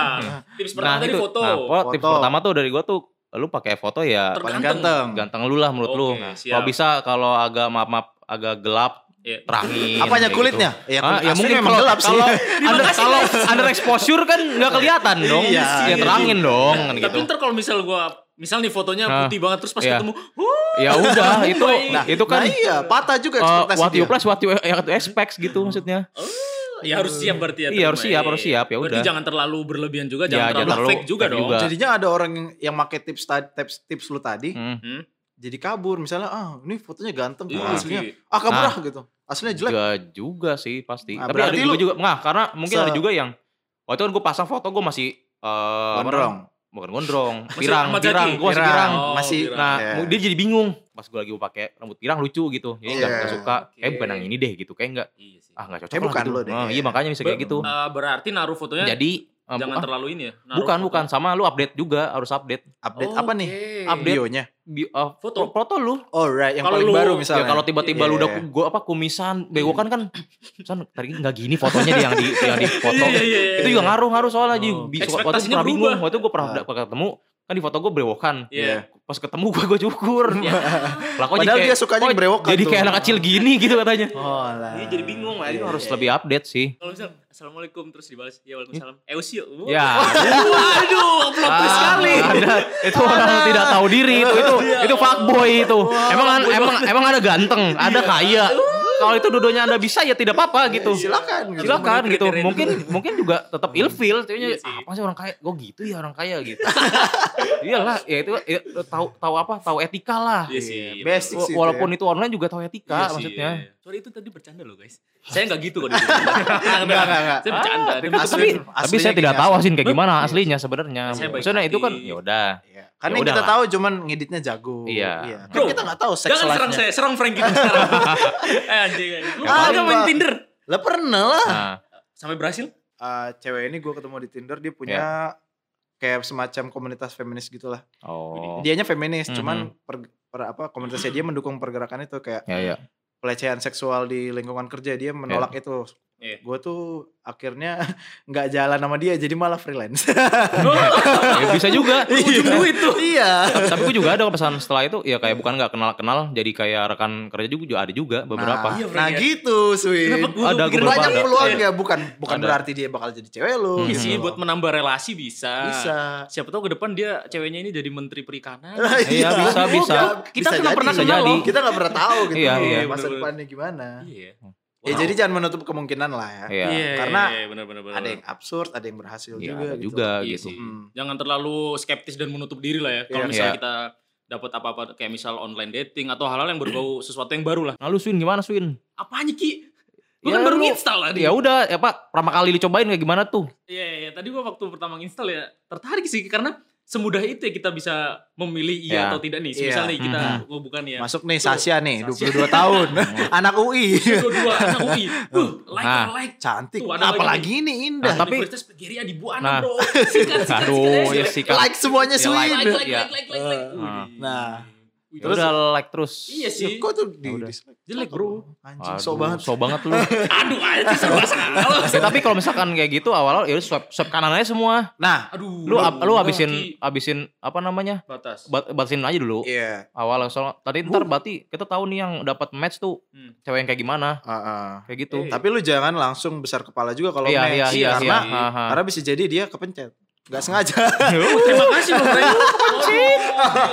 S3: Tips pertama tadi
S4: itu-
S3: foto.
S4: Nah, po- tips
S1: Foto.
S4: pertama tuh dari gua tuh lu pakai foto ya
S3: Tergantung.
S1: paling ganteng.
S4: ganteng lu lah menurut
S3: Oke,
S4: lu.
S3: siap.
S4: Kalau bisa kalau agak maaf-maaf agak gelap
S3: Iya.
S4: terangin.
S1: Apanya
S4: kayak
S1: kulitnya?
S4: gitu.
S1: Ya,
S4: Ah,
S1: kulit
S4: ya
S1: asli
S4: mungkin
S1: memang
S4: kalau
S1: gelap sih. (laughs)
S4: kalau under, kalau (laughs) under exposure kan nggak kelihatan dong.
S1: Iya,
S4: ya
S1: iya.
S4: terangin dong kan
S3: Tapi
S4: gitu.
S3: ntar kalau misal gua misal nih fotonya
S4: Nah.
S3: putih banget terus pas
S4: Iya.
S3: ketemu, "Huh,
S4: Ya udah
S3: (laughs)
S4: itu itu kan
S1: nah iya, patah juga
S4: eh,
S1: ekspektasi
S4: what you
S1: dia.
S4: plus what you, what you expect gitu maksudnya.
S3: ya harus siap berarti ya.
S4: Iya,
S3: terima.
S4: harus siap, harus siap, ya
S3: Berarti
S4: udah.
S3: jangan terlalu berlebihan juga,
S4: Iya,
S3: jangan
S4: jangan
S3: terlalu,
S4: terlalu
S3: fake juga
S4: fake
S3: dong.
S4: juga.
S1: Jadinya ada orang yang, yang make tips, ta- tips tips lu tadi
S4: Hmm.
S1: jadi kabur misalnya ah ini fotonya ganteng kok
S3: Iya,
S1: aslinya
S3: sih.
S1: ah kabur
S4: Nah.
S1: ah gitu aslinya jelek
S4: Nggak juga sih pasti.
S1: Nah,
S4: Tapi ada
S1: berarti
S4: juga
S1: lu-
S4: juga nggak karena mungkin
S1: Se-
S4: ada juga yang waktu itu kan gue pasang foto gue masih eh, apa
S1: gondrong
S4: namanya? bukan gondrong, pirang,
S3: Ahmad Zaki.
S4: pirang, gue masih
S1: Pirang.
S4: pirang.
S3: Oh,
S1: masih
S3: pirang.
S4: Nah,
S1: Iya.
S4: mu- dia jadi bingung. Pas gue lagi mau pakai rambut pirang lucu gitu. Jadi nggak
S1: Iya.
S4: nggak suka. Kayak
S3: Oke.
S4: bukan yang ini deh gitu. Kayak nggak
S3: Iya sih.
S4: ah nggak cocok
S1: Kayak
S4: lah
S1: bukan
S4: gitu.
S1: lo deh.
S4: Ah, iya makanya bisa kayak
S3: Be-
S4: gitu.
S3: eh, berarti naruh fotonya
S4: Jadi eh,
S3: jangan
S4: bu- ah,
S3: terlalu ini ya. naruh
S4: bukan
S3: foto.
S4: bukan sama lu update juga harus update
S1: update
S3: Oh,
S1: apa nih
S3: oke.
S4: Update.
S1: videonya
S4: Bi- eh,
S3: Foto.
S4: pro- foto lu.
S1: alright yang
S3: Kalau
S1: paling
S3: lu-
S1: baru
S4: Ya
S1: misalnya
S4: kalau tiba-tiba lu
S1: Iya.
S4: udah ku- gua apa kumisan, begokan kan San tadi nggak gini fotonya dia yang di yang di foto.
S3: (laughs) Iya, iya, iya.
S4: itu juga ngaruh-ngaruh soalnya jadi
S1: Oh.
S4: bisa waktu itu
S3: Ekspektasinya
S4: pernah bingung
S3: berubah.
S4: waktu gue pernah
S1: Ah.
S4: udah ketemu kan di foto gue brewokan
S3: Iya.
S4: pas ketemu gue gue cukur lah kok
S1: padahal
S4: jadi
S1: dia
S4: kayak,
S1: sukanya
S4: kok
S1: brewokan
S4: jadi
S1: tuh.
S4: kayak anak kecil gini gitu katanya
S1: oh lah
S3: Iya, jadi bingung lah.
S4: Nah, itu
S1: Iya,
S4: harus
S1: iya.
S4: lebih update sih
S3: Kalau misal assalamualaikum terus dibalas ya waalaikumsalam. Eh usia.
S4: ya (laughs)
S3: Waduh, plot twist
S4: Ah,
S3: sekali. Iya.
S4: ada. itu orang tidak tahu diri itu itu itu fuckboy itu emang emang emang ada ganteng ada
S3: Iya.
S4: kaya kalau itu dudonya anda bisa ya tidak apa-apa gitu
S1: silakan gitu.
S4: silakan
S3: Memenuhi
S4: gitu
S3: kriteria
S4: mungkin mungkin juga tetap ilfil
S3: Iya
S4: Taunya
S3: sih.
S4: apa sih orang kaya gue gitu ya orang kaya
S3: (laughs)
S4: gitu iyalah ya itu ya, tahu tahu apa tahu etika lah
S3: Iya sih.
S1: Basic
S4: Wa-
S1: sih itu
S4: walaupun
S1: ya.
S4: itu online juga tahu etika
S3: Iya sih,
S4: maksudnya
S3: iya, iya. Sorry itu tadi bercanda loh guys. Saya nggak gitu kok.
S4: (laughs)
S3: di sini.
S1: enggak enggak enggak
S3: Saya bercanda.
S4: Ah,
S3: demi
S1: asli.
S4: tapi
S3: kepentingan.
S4: tapi
S1: aslinya
S4: saya tidak
S1: gini,
S4: tahu sih kayak gimana aslinya sebenarnya
S3: Saya baik
S4: maksudnya itu kan
S3: hati.
S4: ya udah
S1: Iya. karena
S4: Ya
S1: yang kita
S4: udahlah.
S1: tahu cuman ngeditnya jago
S4: Iya.
S1: kan
S3: Bro,
S1: kita nggak tahu sex
S3: Jangan serang
S1: life-nya
S3: saya, serang Frank gitu
S1: (laughs)
S3: sekarang. eh anjing. Lu
S1: Apa?
S3: ada main Tinder?
S1: lah pernah
S3: Ah.
S1: lah
S4: nah,
S3: Sampai
S1: (laughs)
S3: berhasil?
S1: Eh, cewek ini gue ketemu di Tinder dia punya kayak semacam komunitas feminis gitulah
S4: oh
S1: dianya feminis
S4: Mhm.
S1: cuman per, per- apa komunitasnya dia mendukung pergerakan itu kayak
S4: ya ya
S1: pelecehan seksual di lingkungan kerja dia menolak itu
S3: Iya.
S1: gue tuh akhirnya (laughs) nggak jalan sama dia jadi malah freelance
S4: Ya, bisa
S3: (laughs)
S4: juga
S3: Ujung Oh, duit tuh.
S1: iya
S4: tapi gue juga ada pesan setelah itu ya kayak bukan nggak kenal kenal jadi kayak rekan kerja juga ada juga beberapa
S1: nah,
S3: Iya, Frank,
S1: nah
S3: ya.
S1: gitu
S3: Kenapa
S1: Swin
S3: gue
S4: Ada,
S3: pikirin
S4: gua
S1: banyak
S4: ada.
S1: peluang
S3: Iya.
S1: ya bukan bukan
S4: Ada.
S1: berarti dia bakal jadi cewek lu
S3: Iya
S1: gitu
S3: sih
S1: loh.
S3: buat menambah relasi bisa.
S1: bisa
S3: Siapa tahu ke depan dia ceweknya ini jadi menteri perikanan.
S4: Iya, bisa, bisa.
S3: Kita pernah pernah
S1: jadi.
S4: kenal loh.
S1: kita nggak pernah tahu gitu
S4: Iya,
S1: loh,
S4: iya,
S1: masa
S3: bener-bener.
S1: depannya gimana
S3: Iya.
S1: ya jadi jangan menutup kemungkinan lah ya
S4: Iya.
S1: Karena
S3: benar benar
S1: ada yang absurd ada yang berhasil
S4: Iya,
S1: juga
S4: ada
S1: gitu.
S4: juga
S3: Iya
S4: gitu
S3: sih.
S1: Hmm.
S3: Jangan terlalu skeptis dan menutup diri lah ya. Kalau
S1: Iya.
S3: misalnya
S4: Iya.
S3: kita dapat apa-apa kayak misal online dating atau hal-hal yang berbau sesuatu yang baru lah.
S4: nah lu Swin gimana Swin
S3: Apanya Ki? Gue
S4: Ya,
S3: kan baru
S4: lu-
S3: install tadi.
S4: ya udah ya pak pertama kali dicobain kayak gimana tuh
S3: Iya, iya. Tadi gua waktu pertama install ya tertarik sih karena semudah itu ya kita bisa memilih iya
S4: Iya.
S3: atau tidak nih.
S1: Iya.
S3: Misalnya nih kita
S4: Mhm.
S3: mau bukan ya.
S1: masuk nih
S3: Tuh,
S1: Sasha nih
S3: Sasha.
S1: 22
S4: (laughs)
S1: tahun
S4: Iya.
S1: anak UI
S3: Dua-dua anak UI. Wuh, like
S4: Nah.
S3: like.
S1: (laughs) cantik
S3: Tuh, ada
S1: apalagi ini
S4: Nah,
S1: indah
S4: tapi-
S3: Universitas Pegiria di Buana,
S4: Nah.
S3: Bro. Sikat, sikat, sikat,
S4: aduh ya
S3: sikat.
S4: sih Kak.
S1: like semuanya
S4: Ya, like,
S1: Swin
S3: Like, like,
S4: Iya.
S3: like, like, like, like.
S4: Nah.
S3: Wih.
S1: Nah.
S3: Wih,
S4: Ya udah like terus
S3: Iya sih.
S1: Kok tuh di
S4: Ya udah.
S1: dislike?
S3: Jelek, bro.
S1: Anjing,
S4: Aduh,
S1: sok banget.
S4: so banget
S3: Aduh,
S4: lu (laughs)
S3: anjing serba salah.
S4: Ya, tapi kalau misalkan kayak gitu awal-awal ya udah swipe swipe kanan aja semua
S1: Nah,
S3: Aduh.
S4: lu ab- lu
S3: udah,
S4: habisin
S3: Ki.
S4: habisin apa namanya
S3: batas.
S4: Bat- batasin aja dulu
S1: iya.
S4: awal soalnya tadi ntar berarti kita tahu nih yang dapat match tuh
S3: Hmm.
S4: cewek yang kayak gimana
S1: Heeh.
S4: kayak
S3: Eh,
S4: gitu
S1: Tapi lu jangan langsung besar kepala juga kalau
S4: iya
S1: match.
S4: iya iya
S1: karena,
S4: iya. Aha.
S1: karena bisa jadi dia kepencet. Gak sengaja. (laughs)
S3: Oh, terima kasih
S4: (laughs)
S3: Bang Ray.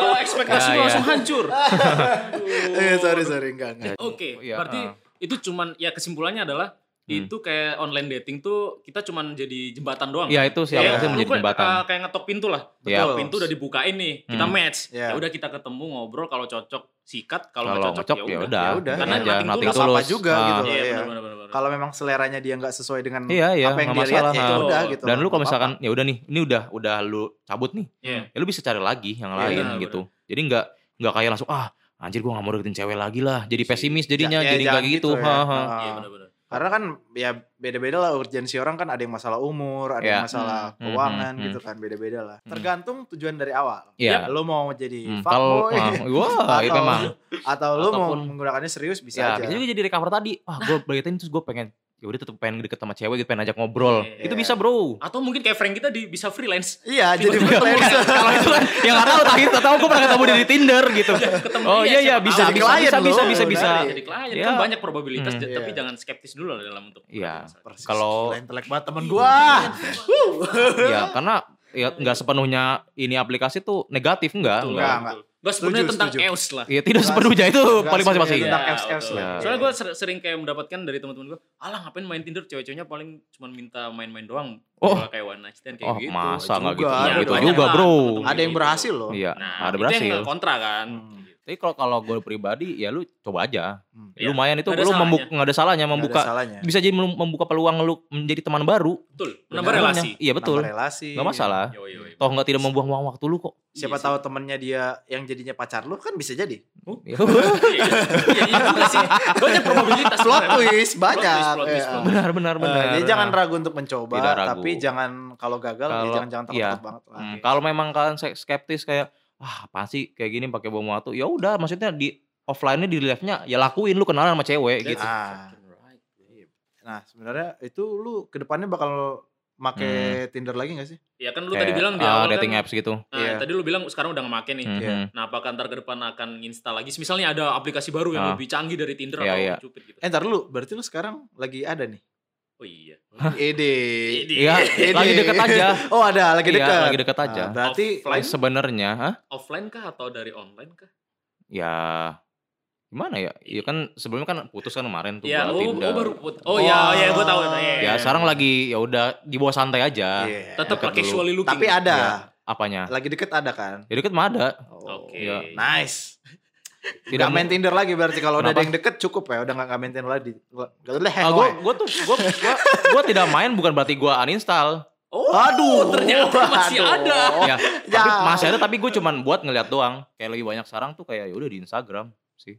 S3: Oh, ekspektasi
S4: Ya,
S3: lu
S4: ya.
S3: langsung hancur.
S1: Eh,
S3: Aduh.
S1: sorry, sorry. Enggak, enggak.
S3: Oke,
S4: Iya,
S3: berarti
S4: ah.
S3: itu cuman ya kesimpulannya adalah
S4: Hmm.
S3: itu kayak online dating tuh kita cuman jadi jembatan doang.
S4: Ya itu siapa
S1: Iya.
S4: sih
S3: lu
S4: menjadi
S3: kayak-
S4: jembatan.
S3: uh, kayak ngetok pintu lah.
S4: Iya.
S3: Ngetok pintu udah dibukain nih, kita
S4: Hmm.
S3: match.
S1: Iya.
S3: Ya udah kita ketemu ngobrol kalau cocok sikat, kalau
S4: Kalau
S3: nggak cocok,
S4: ngocok ya udah.
S1: udah.
S3: Karena
S4: Ini aja,
S3: nothing
S4: nothing
S1: tulus. Nggak apa-apa
S4: tulus.
S1: juga
S4: Ah.
S1: gitu.
S3: Iya,
S1: Iya.
S3: benar benar benar.
S1: Kalau memang seleranya dia nggak sesuai dengan
S4: Iya, iya,
S1: apa yang
S4: nggak
S1: dia lihat,
S4: masalah.
S1: ya itu
S3: Ha.
S1: udah gitu.
S4: Dan lu
S1: Nggak
S4: kalau
S1: apa-apa.
S4: misalkan ya udah nih, ini udah udah lu cabut nih.
S3: Iya.
S4: Ya lu bisa cari lagi yang
S3: Iya,
S4: lain
S3: benar,
S4: gitu. Jadi nggak nggak kayak langsung ah anjir gua nggak mau deketin cewek lagi lah. Jadi pesimis jadinya
S1: Ya, ya,
S4: jadi nggak
S1: jangan
S4: gitu.
S1: ya.
S4: Ha, ha.
S1: Ha.
S3: Iya benar benar.
S1: Karena kan ya beda-beda lah urgensi orang kan ada yang masalah umur, ada
S4: Ya.
S1: yang masalah
S4: Hmm.
S1: keuangan
S4: Hmm, hmm,
S1: gitu kan beda-beda lah.
S4: Hmm.
S1: Tergantung tujuan dari awal.
S4: Iya.
S1: Lu mau jadi
S4: Hmm, Kalau
S1: fuckboy
S4: ah, wah itu
S1: atau
S4: emang
S1: (laughs) atau lu mau
S4: Ataupun-
S1: menggunakannya serius bisa
S4: ya
S1: aja.
S4: bisa juga jadi recover tadi. Wah, gua bergetin terus gua pengen ya udah tetap pengen deket sama cewek gitu pengen ajak ngobrol.
S3: Iya.
S4: Itu bisa, Bro.
S3: Atau mungkin kayak Frank kita di, bisa freelance.
S1: Iya, jadi
S3: Tiba-tiba
S1: freelancer.
S4: Kalau itu kan yang gak tahu terakhir tahu gue pernah ketemu dia di Tinder gitu.
S3: Ketemu
S4: Oh
S3: dia,
S4: iya iya
S3: siapa
S4: bisa
S3: tahu.
S1: Jadi
S4: bisa
S1: klien
S4: bisa
S1: lu,
S4: bisa bisa bisa.
S1: dari-
S3: Jadi klien
S4: Iya.
S3: kan banyak probabilitas,
S4: Hmm.
S3: tapi
S1: Iya.
S3: jangan skeptis dulu lah dalam untuk.
S4: Iya.
S1: Persis,
S4: (laughs) Kalau- Iya.
S1: gila, intelek banget temen gua.
S4: Ya karena ya nggak sepenuhnya ini aplikasi tuh negatif enggak?
S1: Enggak,
S3: Betul, enggak,
S4: Enggak.
S1: enggak.
S3: enggak. Gua sebenarnya
S1: Setuju,
S3: tentang
S1: setuju.
S3: EOS lah.
S4: Ya tidak
S1: Enggak,
S4: sepenuhnya itu
S1: enggak
S4: paling masing-masing.
S1: sepenuhnya. Tentang
S3: Iya,
S1: apps-apps
S3: betul.
S4: lah.
S3: Soalnya gue sering kayak mendapatkan dari teman-teman gue, alah ngapain main Tinder cewek-ceweknya paling cuma minta main-main doang.
S4: Oh.
S3: Kalau Kayak one night stand kayak
S4: Oh,
S3: gitu.
S4: masa enggak gitu?
S1: juga,
S4: Enggak
S1: ada
S4: gitu
S1: banyak
S4: juga,
S3: lah
S4: Bro.
S3: temen-temen
S1: Ada yang
S3: gitu.
S1: berhasil loh.
S4: Iya,
S3: Nah,
S4: ada
S3: Itu
S4: berhasil.
S3: yang kontra kan.
S1: Hmm.
S4: Tapi kalau kalau gue pribadi ya lu coba aja.
S1: Hmm.
S3: Iya.
S4: Lumayan itu
S3: Nggak ada
S4: lu
S3: salahnya.
S4: membuka nggak ada salahnya
S1: Nggak ada
S4: membuka
S1: salahnya.
S4: bisa jadi mem- membuka peluang lu menjadi teman baru.
S3: Betul. Menambah
S1: Benar.
S3: relasi.
S4: Iya betul.
S1: Nambah relasi. Iya.
S4: Enggak masalah.
S3: Yo, yo, yo.
S4: Toh nggak tidak membuang-buang waktu lu
S1: (laughs)
S4: kok.
S1: Siapa
S3: Iya
S1: tahu temennya dia yang jadinya pacar lu kan bisa
S4: (laughs)
S1: jadi.
S3: Iya, iya, iya juga sih. Banyak
S4: (laughs)
S3: probabilitas.
S1: Plot twist banyak.
S3: plot twist,
S1: Iya.
S3: plot twist.
S4: benar benar
S1: Eh,
S4: benar.
S1: jadi jangan ragu untuk mencoba,
S4: Tidak ragu.
S1: tapi jangan kalau gagal ya
S4: Kalau-
S1: jangan-jangan tertutup banget lah.
S4: Hmm, kalau memang kalian se- skeptis kayak wah apa sih kayak gini pakai bom waktu ya udah maksudnya di offline-nya di live-nya ya lakuin lu kenalan sama cewek
S3: That's
S4: gitu.
S1: Ah.
S3: fucking right.
S1: Nah, sebenarnya itu lu kedepannya bakal make
S4: Hmm.
S1: Tinder lagi gak sih?
S3: Ya kan lu tadi
S4: Kayak,
S3: bilang di
S4: ah,
S3: awal
S4: dating
S3: kan.
S4: apps gitu.
S3: Nah,
S1: Iya.
S3: tadi lu bilang sekarang udah ngemake nih.
S4: Mhm.
S1: Iya.
S3: Nah, apakah ntar ke depan akan install lagi? Misalnya ada aplikasi baru yang
S4: Ah.
S3: lebih canggih dari Tinder
S4: Iya,
S3: atau
S4: iya.
S3: Cupid gitu.
S1: Eh, ntar lu, berarti lu sekarang lagi ada nih.
S3: Oh iya.
S1: Ede.
S3: Jadi (laughs)
S4: Iya, lagi deket aja.
S1: (laughs) Oh, ada lagi
S4: Iya,
S1: dekat.
S4: lagi deket aja.
S1: Ah, berarti
S3: Offline.
S4: Sebenarnya, hah?
S3: offline kah atau dari online kah?
S4: Ya gimana ya? Ya kan sebelumnya kan putus kan kemarin tuh
S3: Iya,
S4: buat
S3: oh,
S4: Tinder.
S3: oh baru put. Oh iya, iya gua tahu. Iya, iya,
S4: Ya
S3: iya.
S4: sekarang lagi ya udah di bawah santai aja.
S1: Iya.
S3: tetap
S4: dekat
S3: lah
S4: dulu.
S3: casually looking.
S1: tapi ada.
S4: Iya. Apanya?
S1: Lagi deket ada kan?
S4: Ya deket mah ada.
S1: Oh,
S3: Oke.
S4: Iya.
S1: Nice.
S4: Tidak
S1: Nggak main
S4: menti.
S1: Tinder lagi berarti kalau udah ada
S4: Kenapa?
S1: yang deket cukup ya, udah gak, nggak main Tinder lagi. Gak boleh.
S4: Ah,
S3: E.
S4: gua, gua tuh gua, gua, gua tidak main bukan berarti gua uninstall.
S3: Oh,
S1: Aduh,
S3: ternyata masih ada.
S1: Ya.
S4: ya, tapi masih ada tapi gue cuman buat ngeliat doang. Kayak lebih banyak sekarang tuh kayak yaudah di Instagram sih.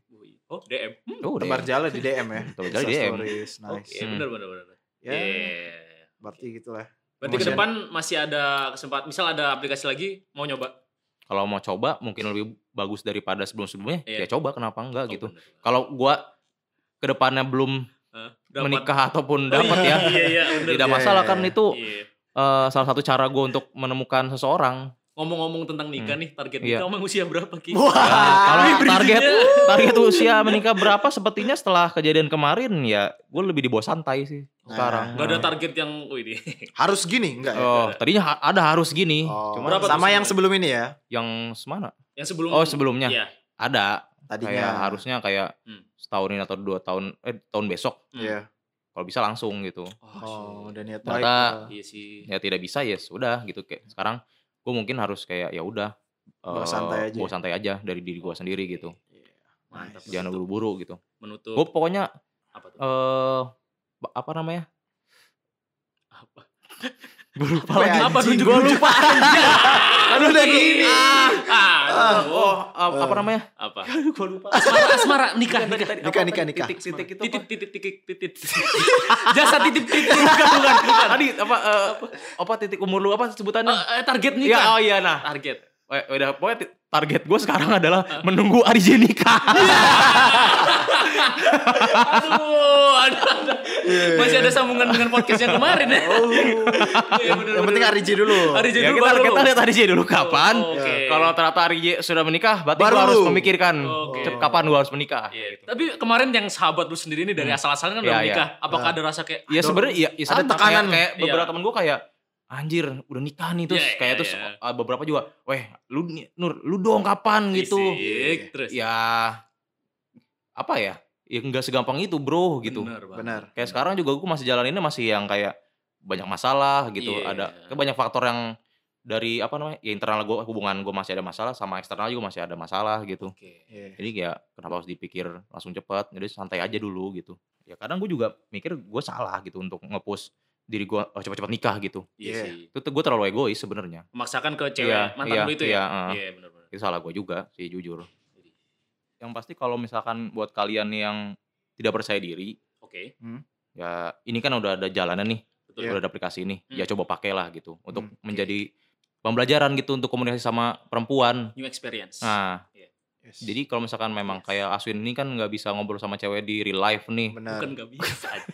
S3: Oh, DM. Hmm,
S4: Oh, udah.
S1: Tebar jala di DM ya.
S4: Tebar jala di
S1: Insta
S4: DM.
S1: stories,
S3: Oke,
S1: Nice.
S4: Hmm.
S3: benar benar benar. benar.
S1: Ya,
S3: Yeah.
S1: berarti gitu gitulah.
S3: Berarti ke
S1: Masih ada.
S3: depan masih ada kesempatan. Misal ada aplikasi lagi mau nyoba.
S4: Kalau mau coba mungkin lebih bagus daripada sebelum-sebelumnya.
S3: Iya.
S4: Ya coba kenapa
S3: Oh,
S4: enggak gitu.
S3: bener.
S4: Kalau gua kedepannya belum
S3: Hah? Dapat.
S4: menikah ataupun
S3: (laughs) Oh,
S4: dapat
S3: iya,
S4: ya.
S3: Iya iya benar.
S4: Tidak
S1: Iya,
S4: masalah
S1: iya,
S4: kan
S1: iya.
S4: itu
S3: Iya.
S4: eh, salah satu cara gue untuk menemukan seseorang.
S3: Ngomong-ngomong tentang nikah nih, target
S4: Iya.
S3: nikah emang usia berapa Ki?
S1: Wah.
S4: Kalau
S3: ini
S4: target Hmm.
S3: bridging-nya.
S4: target usia menikah berapa sepertinya setelah kejadian kemarin ya gue lebih di bawah santai sih sekarang.
S3: Gak ada target yang wih deh.
S1: Harus gini enggak ya?
S4: Oh, tadinya ha- ada harus gini.
S1: Oh,
S4: Cuma
S3: Berapa tuh
S1: sama yang
S3: sebenarnya?
S1: sebelum ini ya.
S4: yang semana?
S3: (laughs) Yang sebelum
S4: Oh, sebelumnya.
S3: Iya.
S4: Ada
S1: Tadinya
S4: kayak harusnya kayak
S3: Hmm.
S4: setahunin atau dua tahun eh tahun besok
S1: Iya.
S4: kalau bisa langsung gitu
S1: Oh,
S3: shit.
S1: udah niat baik.
S4: Ternyata (laughs)
S3: Iya sih.
S4: ya tidak bisa ya sudah gitu
S3: Hmm.
S4: kayak sekarang gue mungkin harus kayak ya udah
S1: Bawa
S4: eh,
S1: santai aja.
S4: bawa santai aja dari diri gue sendiri gitu
S3: ya. Iya, Mantap.
S1: Nice.
S4: jangan
S3: menutup-
S4: buru-buru gitu
S3: Menutup
S4: gue pokoknya
S3: apa tuh?
S4: eh ba- apa namanya
S3: Apa?
S4: gue
S1: Apa
S4: lupa lagi
S1: ya?
S3: Apa
S1: Anjing,
S3: nunjuk
S1: gua
S3: lupa.
S1: Aduh udah gini.
S3: Ah,
S1: Ah,
S3: oh,
S4: Eh, apa
S3: (laughs)
S4: namanya
S3: apa?
S4: gue lupa
S3: Asmara, asmara, nikah, nikah.
S1: Nikah nikah nikah.
S4: titik titik itu
S3: Titik,
S4: apa?
S3: titik, titik, titik. (laughs) Jasa titik, titik.
S4: (laughs) bukan bukan bukan tadi apa eh, apa titik umur lu apa sebutannya
S3: Eh, eh, target
S4: Iya,
S3: nikah.
S4: oh iya nah
S3: Target.
S4: Eh, udah pokoknya ti- target gue sekarang
S3: Eh.
S4: adalah menunggu Arjen nikah.
S3: Aduh, aduh, aduh. Masih ada sambungan dengan podcast yang kemarin ya.
S1: Oh.
S3: Iya, bener,
S1: yang
S3: bener.
S1: penting Ariji dulu.
S3: Ariji
S4: ya
S3: dulu
S4: kita
S3: baru.
S4: kita lihat Arjen dulu kapan. Ya.
S3: Oh, Oke.
S4: Kalau Hmm, ternyata Arjen sudah menikah, berarti
S1: Baru
S4: gue harus
S1: lu.
S4: memikirkan
S3: Oke.
S4: "Cep, kapan gue harus menikah.
S3: Iya, Tapi kemarin yang sahabat lu sendiri ini dari asal-asalan kan udah
S4: Iya, iya.
S3: menikah. Apakah ada rasa kayak
S4: Ya sebenarnya ya, ya
S1: Ada
S4: sama,
S1: tekanan.
S4: kayak, kayak
S3: Iya.
S4: beberapa temen gue kayak anjir udah nikah nih terus
S3: Iya, iya,
S4: kayak terus
S3: iya.
S4: ah, beberapa juga, weh lu
S3: Iya
S4: ni- Nur lu dong kapan gitu.
S3: Asik, Terus.
S4: Ya apa ya? ya nggak segampang itu bro gitu.
S3: Bener, Bang.
S1: Benar.
S4: Kayak sekarang juga gue masih jalaninnya masih yang kayak banyak masalah gitu.
S3: Iya.
S4: Ada kayak banyak faktor yang dari apa namanya ya internal gue hubungan gue masih ada masalah sama eksternal juga masih ada masalah gitu.
S3: Oke.
S1: Iya.
S4: Jadi kayak kenapa harus dipikir langsung cepat, jadi santai aja dulu gitu. Ya kadang gue juga mikir gue salah gitu untuk nge-push diri gue oh, cepat-cepat nikah gitu.
S1: Iya.
S3: Iya sih.
S4: Itu gue terlalu egois sebenarnya.
S3: Memaksakan ke cewek
S4: Iya,
S3: mantan
S4: iya,
S3: lu itu
S4: iya,
S3: ya.
S4: heeh.
S3: Iya, benar-benar.
S4: Itu salah gue juga sih jujur. Yang pasti kalau misalkan buat kalian yang tidak percaya diri,
S3: Oke.
S4: ya ini kan udah ada jalanan nih,
S3: Betul.
S4: udah ada aplikasi nih, ya
S3: Hmm.
S4: coba pakailah gitu untuk
S1: Hmm, oke.
S4: menjadi pembelajaran gitu untuk komunikasi sama perempuan.
S3: New experience.
S4: Nah,
S1: Yes.
S4: jadi kalau misalkan memang
S3: Yes.
S4: kayak Aswin ini kan nggak bisa ngobrol sama cewek di real life nih.
S1: benar.
S3: Bukan gak
S4: (laughs)
S3: bisa. anjing.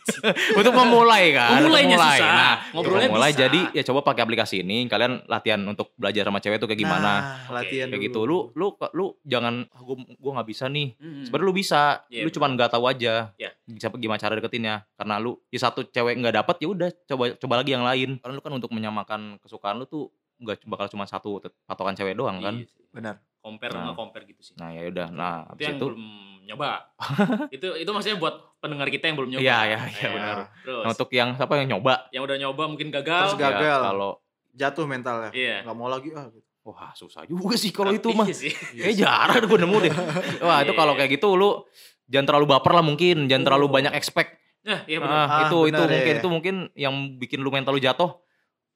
S4: untuk memulai kan untuk
S3: Memulainya
S4: memulai.
S3: susah.
S4: nah
S3: Ngobrolnya
S4: untuk memulai
S3: bisa.
S4: jadi ya coba pakai aplikasi ini kalian latihan untuk belajar sama cewek itu kayak gimana
S1: Nah, latihan
S4: kayak gitu
S1: dulu.
S4: lu lu lu jangan ah, gua gua nggak bisa nih
S3: Mm-mm.
S4: sebenarnya lu bisa
S3: Hmm. Iya,
S4: lu
S3: bener.
S4: cuman nggak tahu aja
S3: Iya.
S4: bisa gimana cara deketinnya karena lu di satu cewek nggak dapet ya udah coba coba lagi yang lain karena lu kan untuk menyamakan kesukaan lu tuh nggak bakal cuma satu tet- patokan cewek doang kan
S3: Iya sih.
S1: Benar.
S3: Compare sama
S4: Nah.
S3: compare gitu sih.
S4: nah ya udah
S3: itu
S4: nah
S3: yang
S4: abis itu
S3: belum
S4: (laughs)
S3: nyoba. itu itu maksudnya buat pendengar kita yang belum nyoba.
S4: Iya, iya, iya,
S3: Ya,
S1: benar.
S3: Terus
S4: nah, untuk yang siapa yang nyoba
S3: yang udah nyoba mungkin
S1: Terus
S3: gagal.
S1: gagal.
S4: ya, kalau
S1: Jatuh mentalnya.
S3: Iya.
S1: Gak mau lagi ah. Gitu.
S4: wah susah juga sih kalau itu
S3: Iya
S4: mah
S3: sih. (laughs)
S4: Kayaknya jarang gue nemu deh. Wah itu
S3: Iya,
S4: kalau
S3: iya.
S4: kayak gitu lu jangan terlalu baper lah mungkin, jangan terlalu
S3: Oh.
S4: banyak expect.
S3: Nah, iya benar.
S4: Ah,
S1: Ah,
S4: itu itu
S1: benar,
S4: mungkin
S1: iya.
S4: itu mungkin yang bikin lu mental lu jatuh.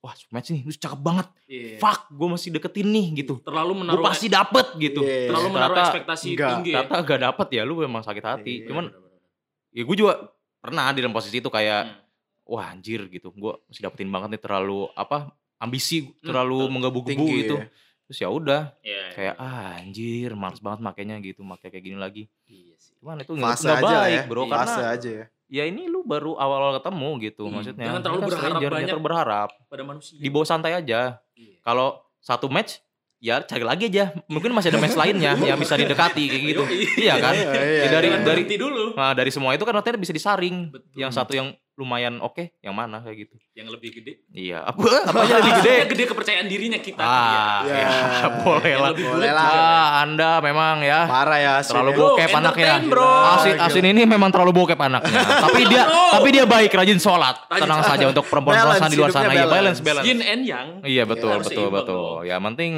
S4: Wah match nih, lu cakep banget.
S3: Iya.
S4: Fuck, gue masih deketin nih gitu.
S3: Terlalu
S4: Gue
S3: menaruh
S4: pasti dapet gitu.
S1: Iya.
S4: Terus
S3: terlalu menaruh
S4: ternyata-
S3: ekspektasi
S1: Enggak.
S3: tinggi ya.
S4: Ternyata gak dapet ya, lu memang sakit hati.
S1: Iya,
S4: Cuman
S3: Benar, benar,
S4: ya gue juga pernah di dalam posisi itu kayak,
S3: Hmm.
S4: wah anjir gitu. Gue masih dapetin banget nih terlalu apa ambisi
S3: Hmm,
S4: terlalu
S3: betul.
S4: menggebu-gebu
S1: Tinggi
S4: gitu.
S1: ya.
S4: Terus ya udah,
S3: benar. Iya.
S4: kayak ah anjir, males banget makainya gitu, makai kayak gini lagi.
S3: Iya sih.
S4: Cuman itu nggak
S1: Fase
S4: nggak
S1: aja lah
S4: baik
S1: ya.
S4: bro karena
S1: Fase aja ya.
S4: ya ini lu baru awal-awal ketemu gitu
S3: Hmm.
S4: maksudnya.
S3: Jangan terlalu
S4: Ini kan
S3: berharap
S4: stranger, jangan
S3: banyak.
S4: terlalu berharap.
S3: Pada manusia.
S4: Di bawah santai aja.
S3: Iya.
S4: Kalau satu match ya cari lagi aja. Mungkin masih ada match
S3: (laughs)
S4: lainnya yang bisa didekati kayak gitu.
S3: Yoi.
S4: iya kan?
S1: Iya, iya,
S4: Ya, dari
S1: iya.
S4: dari
S3: berhenti dulu
S4: nah, dari semua itu kan artinya bisa disaring.
S3: Betul.
S4: Yang satu yang lumayan oke, yang mana kayak gitu.
S3: yang lebih gede.
S4: Iya, (laughs)
S3: (laughs)
S4: apa apanya lebih gede?
S3: Maksudnya gede kepercayaan dirinya kita.
S4: Ah,
S1: Iya.
S4: ya, (laughs) boleh
S3: Yang
S4: lah.
S3: lebih
S1: Boleh
S3: bulat
S1: lah.
S3: juga.
S4: Ah, Anda memang
S3: (laughs)
S4: ya
S1: Parah ya. Asin
S4: terlalu
S1: ya.
S3: Bro,
S4: bokep anaknya.
S3: entertain, bro.
S4: Asin, Asin ini memang terlalu bokep
S3: (laughs)
S4: anaknya. tapi dia
S3: Bro.
S4: tapi dia baik rajin sholat.
S3: Rajin
S4: Tenang saja untuk perempuan-perempuan
S1: Balance,
S4: di luar sana
S1: hidupnya
S4: ya
S1: balance.
S4: balance balance.
S3: Yin and yang.
S4: Iya betul
S3: Harus
S4: betul
S3: seimbang
S4: betul. Ya
S3: (laughs)
S4: penting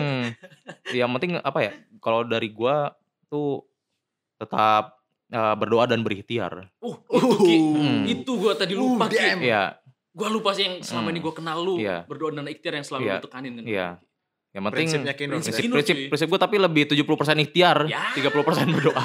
S4: yang penting apa ya? Kalau dari gua tuh tetap eh, berdoa dan berikhtiar.
S3: Uh, itu Ki.
S4: Hmm.
S3: Itu gua tadi lupa
S1: Uh,
S3: Ki.
S1: DM.
S4: Iya,
S3: Gua lupa sih yang selama
S4: Hmm.
S3: ini gua kenal lu.
S4: Iya.
S3: Berdoa dan ikhtiar yang selalu
S4: Iya.
S3: lu tekanin kan.
S4: Iya. yang penting
S1: Prinsipnya Kinun.
S4: prinsip
S3: Kinun,
S4: prinsip,
S3: cuy.
S4: prinsip gua tapi lebih 70% ikhtiar,
S3: kan Ya.
S4: 30% berdoa.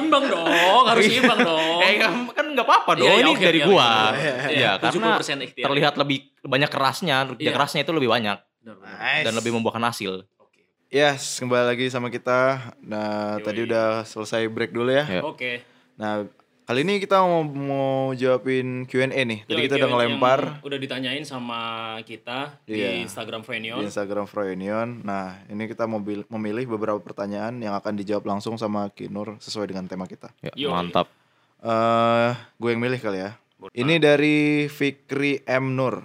S3: Imbang dong, harus imbang
S4: (laughs)
S3: dong.
S4: eh kan kan nggak apa-apa dong.
S3: Iya, iya,
S4: ini
S3: Oh. oke,
S4: dari
S3: iya,
S4: gua.
S3: iya,
S1: iya,
S3: iya.
S4: Iya, karena
S3: 70% ikhtiar.
S4: terlihat lebih banyak kerasnya, kerja
S3: Iya.
S4: kerasnya itu lebih banyak
S3: Benar, benar.
S1: Nice.
S4: dan lebih membuahkan hasil.
S3: Oke.
S1: Yes, kembali lagi sama kita. Nah,
S3: Yoi.
S1: tadi udah selesai break dulu ya.
S4: Iya.
S3: Oke.
S1: Nah, kali ini kita mau mau jawabin Q&A nih. Tadi
S3: Yoi,
S1: kita udah
S3: Ki,
S1: ngelempar
S3: yang Udah ditanyain sama kita
S1: Iya.
S3: di Instagram
S1: di
S3: Frenion.
S1: Instagram Froyunion. Nah, ini kita mau bil- memilih beberapa pertanyaan yang akan dijawab langsung sama Kinur sesuai dengan tema kita.
S4: Ya,
S3: Yo.
S4: mantap.
S1: Eh, gue yang milih kali ya. Ini dari Fikri M Nur.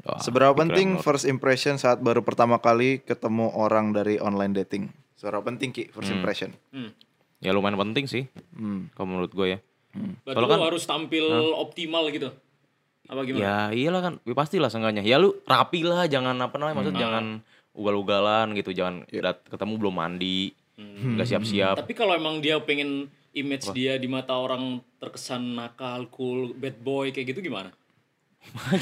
S4: Wah,
S1: Ah, Seberapa
S4: keren
S1: penting
S4: banget.
S1: first impression saat baru pertama kali ketemu orang dari online dating? Seberapa penting Ki first impression?
S3: Hmm.
S4: Ya lumayan penting sih
S1: Hmm.
S4: kalau menurut gue ya.
S3: Berarti
S4: Kalau
S3: lu
S4: kan-
S3: harus tampil optimal gitu. Apa gimana?
S4: Ya iyalah kan, ya, pasti lah seenggaknya. Ya lu rapi lah, jangan apa namanya, maksud jangan ugal-ugalan gitu, jangan dat- ketemu belum mandi, nggak siap-siap.
S3: Tapi kalau emang dia pengen image dia di mata orang terkesan nakal, cool, bad boy kayak gitu gimana?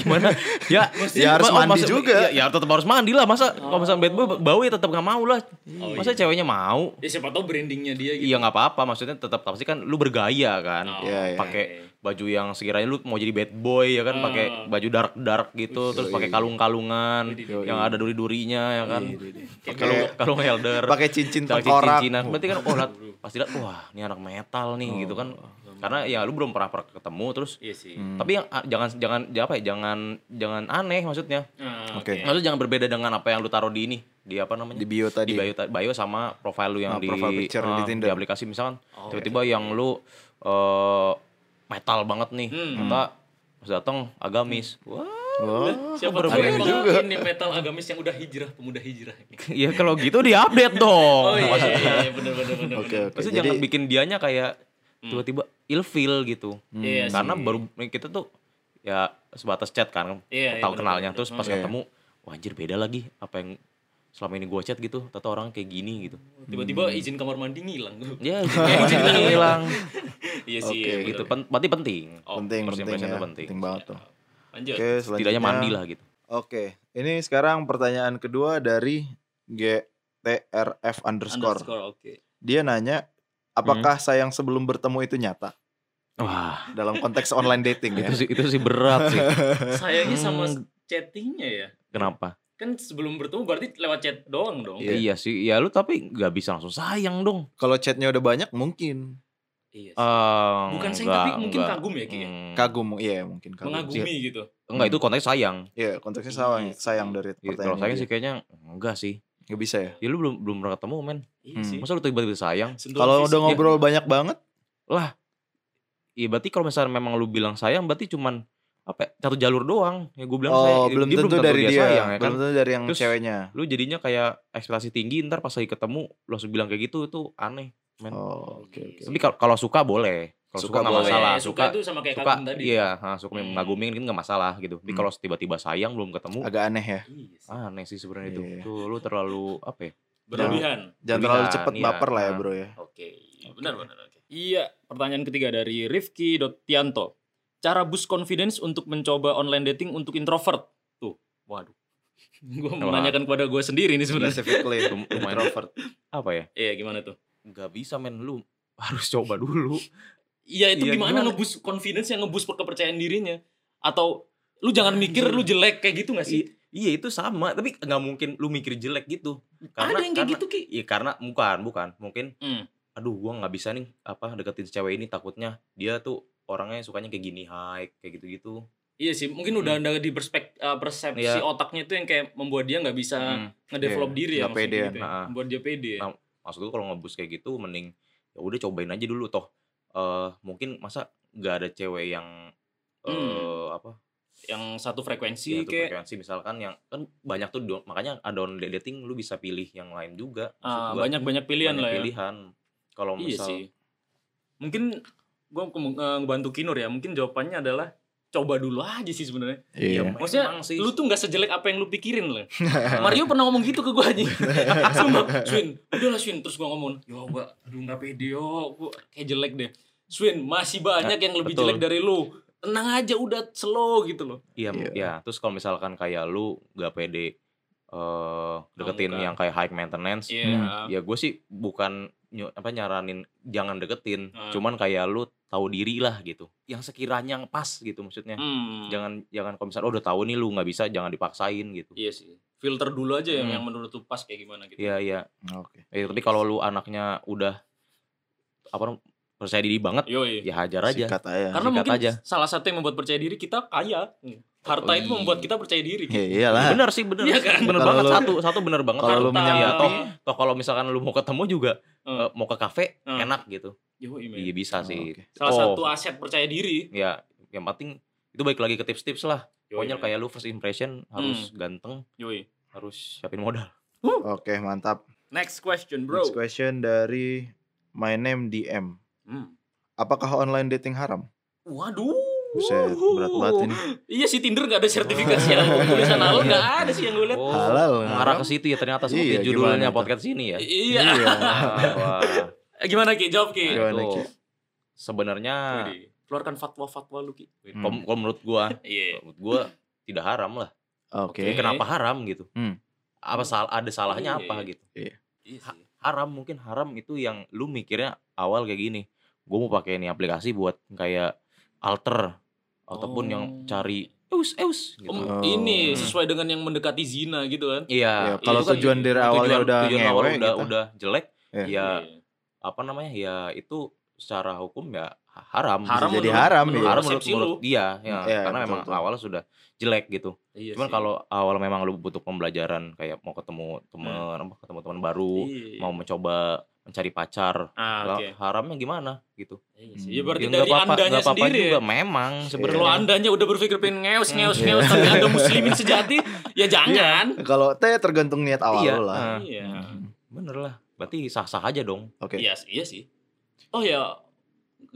S4: Gimana? ya,
S1: Ya harus
S4: ma-
S1: mandi
S4: maksud-
S1: juga.
S4: Ya, ya tetap harus mandi lah, masa kalau misalnya bad boy bau ya tetap nggak mau lah. masa ceweknya mau?
S3: Ya siapa tahu brandingnya dia gitu.
S4: Iya nggak apa-apa, maksudnya tetap pasti kan lu bergaya kan,
S3: Oh.
S1: Iya, iya.
S4: pakai baju yang sekiranya lu mau jadi bad boy ya
S3: Hmm.
S4: kan, pakai baju dark dark gitu, terus pakai kalung-kalungan yang ada duri-durinya ya kan, kalung kalung elder,
S1: (laughs) Pakai cincin
S4: pakai
S1: tengkorak.
S4: cincinan, berarti kan
S1: (laughs)
S4: oh liat- pasti liat, wah ini anak metal nih gitu kan,
S1: Oh,
S4: karena ya lu belum pernah pernah ketemu terus,
S3: Iya sih.
S1: Hmm.
S4: tapi yang ah, jangan jangan ya apa ya, jangan jangan aneh maksudnya,
S3: Nah,
S1: Oke.
S4: maksudnya jangan berbeda dengan apa yang lu taruh di ini, di apa namanya?
S1: Di bio tadi.
S4: di bio, bio sama profile lu yang
S1: Ah,
S4: di
S1: profile picture
S4: ah,
S1: di Tinder.
S4: aplikasi misalkan
S3: Oh,
S4: tiba-tiba
S3: iya.
S4: yang lu eh, metal banget nih
S3: Hmm.
S4: ternyata pas datang agamis (laughs) wah
S1: Wah.
S3: Siapa tahu
S4: berbeda
S3: emang ini metal agamis yang udah hijrah, pemuda hijrah.
S4: ya kalau gitu di update dong
S3: (laughs) Oh iya, iya, iya, bener bener bener.
S1: Oke, oke.
S4: Ya, Maksudnya
S1: Jadi
S4: jangan bikin dianya kayak tiba-tiba ilfeel gitu.
S1: hmm,
S3: Hmm. Iya sih.
S4: Karena baru kita tuh ya sebatas chat kan,
S3: Iya, iya,
S4: tahu
S3: bener,
S4: kenalnya
S3: bener.
S4: terus pas
S1: Iya.
S4: ketemu, wah anjir beda lagi apa yang selama ini gua chat gitu, tata orang kayak gini gitu.
S3: Hmm, Tiba-tiba izin kamar mandi ngilang. (laughs)
S4: Ya, (laughs) jadi hilang Oh,
S3: Iya
S1: Oke,
S3: sih. iya, bener. Iya.
S4: gitu. Pen- berarti penting.
S1: penting,
S4: first
S1: penting,
S4: impression
S1: ya.
S4: tuh penting.
S1: penting banget tuh.
S3: Lanjut.
S4: Tidaknya mandi lah gitu.
S1: Oke, ini sekarang pertanyaan kedua dari GTRF underscore.
S3: Underscore, oke.
S1: Dia nanya, apakah sayang sebelum bertemu itu nyata
S4: Wah,
S1: dalam konteks online dating ya?
S4: itu sih itu sih berat (laughs) sih.
S3: Sayangnya sama
S4: Hmm.
S3: chattingnya ya.
S4: Kenapa?
S3: Kan sebelum bertemu berarti lewat chat doang dong.
S1: Iya.
S4: Iya sih, ya lu tapi nggak bisa langsung sayang dong.
S1: (laughs) Kalau chatnya udah banyak mungkin
S3: Iya. sih.
S4: Eh,
S3: Bukan sayang,
S4: enggak,
S3: tapi mungkin
S4: enggak.
S3: kagum ya, Ki, ya?
S4: Hmm.
S1: kagum, iya mungkin kagum.
S3: Mengagumi gitu.
S4: Enggak, itu konteks sayang.
S1: Iya, konteksnya sayang, sayang dari
S4: Ya, Kalau
S1: pertanyaan.
S4: sayang
S1: dia.
S4: sih kayaknya enggak sih.
S1: Nggak bisa ya.
S4: Ya lu belum belum pernah ketemu, men.
S3: Iya
S1: Hmm.
S3: sih.
S4: Masa lu tiba-tiba sayang?
S3: Sentuhan
S1: Kalau
S3: fisik
S1: udah
S4: iya.
S3: ya.
S1: ngobrol banyak banget,
S4: Lah. Iya, berarti kalau misalnya memang lu bilang sayang berarti cuman apa ya, satu jalur doang. Ya gue bilang sayang,
S1: oh
S4: dia-
S1: belum
S4: dia
S1: tentu dari dia,
S4: sayang, ya kan?
S1: belum tentu dari yang
S4: Terus-
S1: ceweknya.
S4: Lu jadinya kayak ekspektasi tinggi ntar pas lagi ketemu lu langsung bilang kayak gitu itu aneh. men.
S1: Oh, oke oke.
S4: Tapi kalau kalau suka boleh. Kalau
S1: Suka
S4: suka nggak
S1: boleh.
S4: masalah,
S3: Eh, suka, itu sama kayak
S4: suka
S3: kagum tadi.
S4: iya ha, suka
S3: Hmm.
S4: mengagumi kan nggak masalah gitu tapi
S1: Hmm.
S4: kalau tiba-tiba sayang belum ketemu ah,
S1: Agak aneh ya.
S3: Iya sih.
S4: aneh sih sebenarnya itu
S1: Iya.
S4: itu lu terlalu apa ya
S3: Berlebihan.
S1: Jangan terlalu
S4: Pilihan,
S1: cepet
S4: iya.
S1: baper lah ya,
S4: Nah.
S1: Bro ya.
S3: Oke, benar benar. oke. Iya, pertanyaan ketiga dari Rifki Tianto. Cara boost confidence untuk mencoba online dating untuk introvert. (laughs) Tuh, waduh. gue
S4: Wah.
S3: menanyakan kepada gue sendiri nih sebenarnya.
S4: (laughs)
S1: Specifically
S4: Lum- lumayan
S1: introvert.
S4: apa ya
S3: Iya, gimana tuh?
S4: nggak bisa men lu harus coba dulu
S3: Iya, itu
S4: Iya,
S3: gimana,
S4: gimana?
S3: nge-boost confidence yang nge-boost kepercayaan dirinya? Atau lu jangan mikir lu jelek kayak gitu gak sih?
S4: I- iya itu sama tapi nggak mungkin lu mikir jelek gitu
S3: Ada yang kayak
S4: karena,
S3: gitu, Ki.
S4: iya karena bukan bukan mungkin
S3: Hmm.
S4: aduh gua nggak bisa nih apa deketin si cewek ini takutnya dia tuh orangnya sukanya kayak gini high kayak gitu-gitu
S3: Iya sih, mungkin udah ada di perspek, eh, persepsi
S4: Hmm. Iya.
S3: otaknya itu yang kayak membuat dia nggak bisa
S4: Hmm.
S3: ngedevelop
S1: Iya,
S3: diri ya
S1: nggak
S3: maksudnya
S1: pede ya.
S3: gitu ya.
S4: Nah.
S3: Membuat dia pede. ya.
S4: Nah, maksud gue kalau ngebus kayak gitu mending ya udah cobain aja dulu toh eh mungkin masa nggak ada cewek yang eh
S3: Hmm.
S4: apa
S3: yang satu
S4: ya,
S3: frekuensi
S4: tuh
S3: kayak
S4: frekuensi misalkan yang kan banyak tuh do- makanya ada on dating lu bisa pilih yang lain juga Maksud
S3: Ah,
S4: gua,
S3: banyak-banyak pilihan
S4: banyak
S3: lah ya.
S4: pilihan kalau
S3: Iya
S4: misal ya
S3: sih. Mungkin gua ke- eh, ngebantu Kinur ya. Mungkin jawabannya adalah coba dulu aja sih sebenarnya.
S1: Iya.
S3: Maksudnya
S4: Emang sih.
S3: lu tuh nggak sejelek apa yang lu pikirin
S4: (laughs)
S3: lah. Mario pernah ngomong gitu ke gua aja. Sumpah, Swin, udah lah Swin. Terus gua ngomong, yo gua aduh nggak pede yo, gua kayak jelek deh. Swin, masih banyak yang lebih
S4: Nah, betul.
S3: jelek dari lu. Tenang aja udah slow gitu loh.
S4: iya
S1: Iya.
S4: ya terus kalau misalkan kayak lu nggak pede eh deketin
S3: Pramuka.
S4: yang kayak high maintenance
S3: Iya.
S4: ya gue sih bukan nyu- apa nyaranin jangan deketin
S3: Hmm.
S4: cuman kayak lu tahu diri lah gitu yang sekiranya yang pas gitu maksudnya
S3: Hmm.
S4: jangan jangan kalau misalnya oh, udah tahu nih lu nggak bisa jangan dipaksain gitu
S3: Iya sih. Filter dulu aja yang,
S4: Hmm.
S3: yang menurut lu pas kayak gimana gitu.
S4: iya iya
S1: Oke.
S4: Eh, tapi kalau lu anaknya udah apa nam- percaya diri banget
S3: Yo, iya.
S4: ya hajar aja
S1: Sikat aja.
S3: Karena
S4: Sikat
S3: mungkin
S4: aja.
S3: salah satu yang membuat percaya diri kita kaya. Harta itu
S4: Oi.
S3: membuat kita percaya diri. gitu.
S1: Ya iyalah.
S4: bener sih bener
S3: Iya kan?
S4: bener
S1: Kalau
S4: banget
S1: lu-
S4: satu satu bener banget
S1: Kalau lu
S4: Harta. Iya,
S1: menyikapi-
S4: toh toh kalau misalkan lu mau ketemu juga
S3: Hmm.
S4: eh, mau ke kafe
S3: Hmm.
S4: enak gitu
S3: Yoi, men.
S4: iya
S1: Oh,
S4: bisa sih
S1: oke.
S3: Salah
S4: Oh,
S3: satu aset percaya diri.
S4: ya yang penting itu baik lagi ke tips-tips
S3: Yoi,
S4: lah
S3: Hmm.
S4: Pokoknya
S3: men.
S4: kayak lu first impression harus ganteng,
S3: Yoi.
S4: harus siapin modal.
S1: Oke, mantap.
S3: Next question, bro.
S1: Next question dari my name DM.
S3: Hmm.
S1: Apakah online dating haram?
S3: Waduh.
S1: Buset, berat banget ini.
S3: Iya sih Tinder gak ada sertifikasi yang tulisan halal gak ada sih yang gue lihat.
S4: Oh,
S1: Halal, haram.
S4: Mengarah ke situ ya ternyata
S1: Iya,
S4: seperti
S1: gimana
S4: judulnya
S1: itu?
S4: podcast ini ya.
S3: Iya.
S4: Wah, wah.
S3: (laughs) Gimana Ki? Jawab Ki.
S1: Iya. Gimana,
S4: Itu
S1: Ki?
S4: sebenarnya
S3: Widih. Keluarkan fatwa-fatwa lu Ki.
S1: Hmm.
S4: kom- kalau menurut gua,
S3: Iya.
S4: menurut gua tidak haram lah.
S1: Oke.
S4: Tapi kenapa haram gitu?
S1: Iya. Hmm.
S4: Apa sal- ada
S3: Iya,
S4: salahnya apa
S3: iya.
S4: gitu?
S3: Iya sih.
S4: Haram mungkin haram itu yang lu mikirnya awal kayak gini. Gua mau pakai ini aplikasi buat kayak alter ataupun
S3: Oh.
S4: yang cari eus eus gitu.
S3: Om,
S1: Oh.
S3: Ini
S4: Hmm.
S3: sesuai dengan yang mendekati zina gitu kan.
S1: Ya,
S4: Iya,
S1: kalau
S4: itu kan
S1: tujuan dari awalnya
S4: tujuan-
S1: udah
S4: tujuan awal
S1: ngewe
S4: udah
S1: gitu.
S4: udah jelek,
S1: Iya.
S4: ya apa namanya ya itu secara hukum ya haram.
S3: Haram
S1: jadi
S3: menurut-
S1: haram,
S3: menurut
S1: iya.
S4: haram menurut,
S3: persepsi
S4: menurut
S3: lu.
S4: dia ya,
S1: Iya,
S4: karena
S1: betul,
S4: memang
S1: betul.
S4: awalnya sudah jelek gitu.
S3: Iya
S4: Cuman
S3: sih.
S4: kalau awal memang lu butuh pembelajaran kayak mau ketemu teman, apa, ketemu teman baru,
S3: Iya.
S4: mau mencoba mencari pacar,
S3: Ah,
S4: lah,
S3: oke.
S4: haramnya gimana gitu.
S3: Iya sih.
S1: Hmm.
S3: Ya berarti
S4: Ya, nggak
S3: dari
S4: apa-apa-
S3: andanya
S4: nggak apa-apa
S3: sendiri.
S4: juga Iya.
S3: ya.
S4: memang
S3: Kalau
S1: Iya.
S4: sebenarnya.
S3: andanya udah berpikir pengen ngeos ngeos ngeos tapi anda
S4: (laughs)
S3: muslimin sejati, ya jangan.
S1: Kalau teh tergantung niat awal
S4: Iya,
S1: lu lah.
S4: ah,
S3: Iya.
S1: Hmm.
S4: bener lah. Berarti sah-sah aja dong.
S1: Oke.
S3: Iya, sih- iya sih. Oh ya,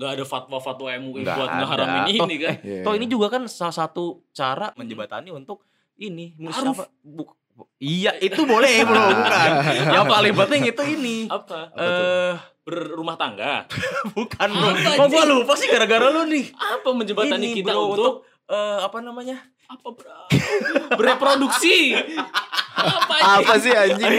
S3: nggak ada fatwa-fatwa MUI
S4: Nggak
S3: buat
S4: ada. Oh.
S3: ngeharamin
S4: Toh,
S3: ini kan.
S1: Iya.
S4: Toh ini juga kan salah satu cara menjebatani untuk ini musyawarah-
S3: Ta'aruf.
S4: bu- bu- Iya, itu boleh bro, bukan. Yang paling penting itu ini.
S3: Apa?
S4: Eh,
S3: Berumah tangga.
S4: bukan bro.
S3: Apa,
S4: Kok gua
S3: Ji?
S4: lupa sih gara-gara lu nih.
S3: Apa menjebatani
S4: Ini,
S3: kita
S4: bro,
S3: untuk
S4: eh, apa namanya?
S3: apa bro?
S4: (laughs)
S3: Bereproduksi. apa ini?
S1: Apa sih (laughs) anjing?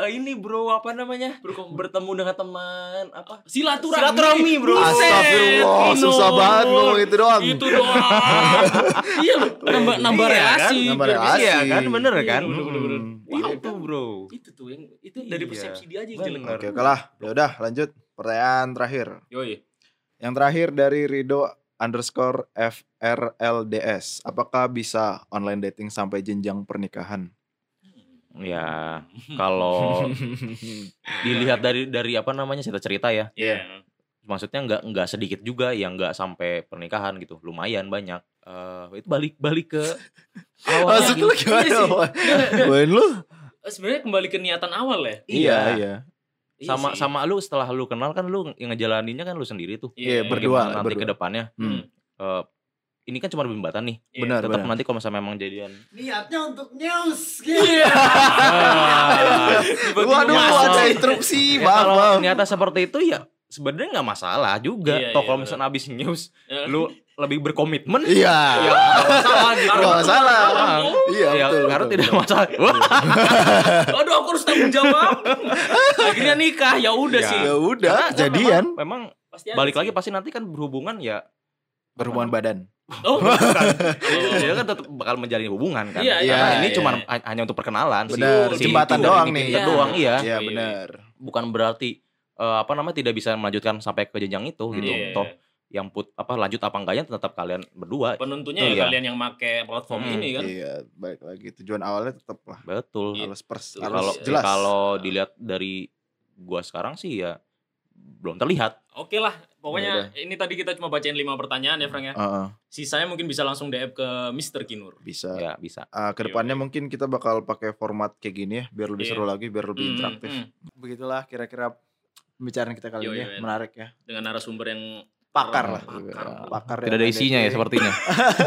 S4: Eh, ini bro, apa namanya? Bertemu dengan teman apa?
S3: Silaturahmi.
S4: Silaturahmi bro.
S3: Buset,
S1: Astagfirullah,
S3: Vino.
S1: susah banget ngomong itu Gitu doang.
S3: Itu doang.
S1: (laughs)
S3: iya, loh. nambah nambah
S4: Iya, kan?
S3: reaksi.
S1: Nambah
S3: biar bisa-
S1: reaksi.
S4: Iya kan, bener
S3: Iya,
S4: kan?
S3: bener, bener, bener. Wow,
S4: Itu bro.
S3: itu tuh yang itu dari
S4: Iya.
S3: persepsi dia aja yang
S4: Bener.
S3: jelek.
S1: Oke, oke lah. Ya udah, lanjut. Pertanyaan terakhir.
S3: Yoi.
S1: Yang terakhir dari Rido underscore FRLDS. Apakah bisa online dating sampai jenjang pernikahan?
S4: Ya,
S1: (laughs)
S4: kalau dilihat dari dari apa namanya cerita-cerita ya.
S3: Iya.
S4: Maksudnya nggak nggak sedikit juga yang nggak sampai pernikahan gitu. Lumayan banyak. Eh, itu balik balik ke gitu.
S1: (laughs)
S4: awal
S1: Maksud
S4: lagi.
S1: lu gimana?
S4: (laughs)
S3: Iya sih.
S1: Wan? Wan lu?
S3: Eh, Sebenarnya kembali ke niatan awal ya.
S4: Iya.
S1: iya.
S3: Iya
S4: sama
S3: sih.
S4: sama lu setelah lu kenal kan lu ngejalaninnya kan lu sendiri tuh.
S1: Iya,
S3: Iya.
S1: berdua
S4: Gimana
S1: lah,
S4: nanti
S1: berdua.
S4: ke depannya.
S1: Hmm.
S4: eh, ini kan cuma bimbatan nih.
S3: Iya.
S1: Benar,
S4: Tetap
S1: benar.
S4: nanti kalau misalnya memang jadian. Iya.
S5: Niatnya untuk
S4: (laughs)
S5: news. Iya.
S4: Ah, tiba-tiba
S1: Waduh,
S4: masuk.
S1: ada interupsi.
S4: Ya,
S1: Maaf,
S4: kalau
S1: maaf.
S4: ternyata seperti itu ya sebenarnya nggak masalah juga.
S3: Iya,
S4: Toh
S3: iya,
S4: kalau
S3: benar.
S4: misalnya abis news
S3: Eh,
S4: lu lebih berkomitmen
S1: Iya.
S4: Ya. salah gitu.
S1: Nggak masalah. Iya,
S4: Ya,
S1: betul.
S4: karena
S1: betul,
S4: tidak
S1: betul.
S4: masalah. Wah,
S3: Aduh, aku harus tanggung jawab. Akhirnya nikah, ya udah
S4: Ya.
S3: sih.
S1: Ya udah,
S4: karena
S1: jadian.
S4: memang- Memang,
S3: Pasti ada
S4: balik
S3: Iya, sih.
S4: lagi pasti nanti kan berhubungan ya.
S1: Berhubungan badan.
S3: Oh, bukan. Oh.
S4: Dia kan tetap bakal menjalin hubungan kan.
S3: Iya,
S1: iya,
S4: Karena ini
S3: iya.
S4: cuma hanya untuk perkenalan sih.
S1: Benar,
S4: Si-
S1: jembatan
S4: itu,
S1: doang
S4: ini
S1: nih.
S4: kita doang iya.
S1: Iya,
S3: Iya,
S1: benar.
S4: Bukan berarti eh, apa namanya tidak bisa melanjutkan sampai ke jenjang itu gitu.
S3: Iya.
S4: Toh yang put apa lanjut apa enggaknya tetap kalian berdua.
S3: penentunya
S4: Betul,
S3: ya
S4: ya.
S3: kalian yang make platform
S4: Hmm,
S3: ini kan.
S1: Iya, baik lagi. Tujuan awalnya tetap lah.
S4: Betul.
S3: Iya,
S1: Harus pers,
S3: Itu
S4: kalau
S1: harus jelas.
S4: kalau dilihat dari gua sekarang sih ya belum terlihat.
S3: Oke lah, pokoknya ini tadi kita cuma bacain lima pertanyaan ya Frank ya.
S1: Heeh,
S3: Sisanya mungkin bisa langsung DM ke Mr. Kinur.
S1: bisa.
S4: Ya bisa.
S1: Ah, kedepannya mungkin kita bakal pakai format kayak gini ya, biar lebih
S3: Iya.
S1: seru lagi, biar lebih
S3: Hmm,
S1: interaktif.
S3: hmm.
S1: Begitulah kira-kira pembicaraan kita kali
S3: Yo,
S1: ini,
S3: yo,
S1: ya.
S3: yo.
S1: menarik ya.
S3: Dengan narasumber yang (laughs)
S1: Pakar lah. Iya,
S3: Pakar.
S1: Pakar
S4: Tidak
S1: yang
S4: ada isinya ya
S1: di- Nah,
S4: sepertinya.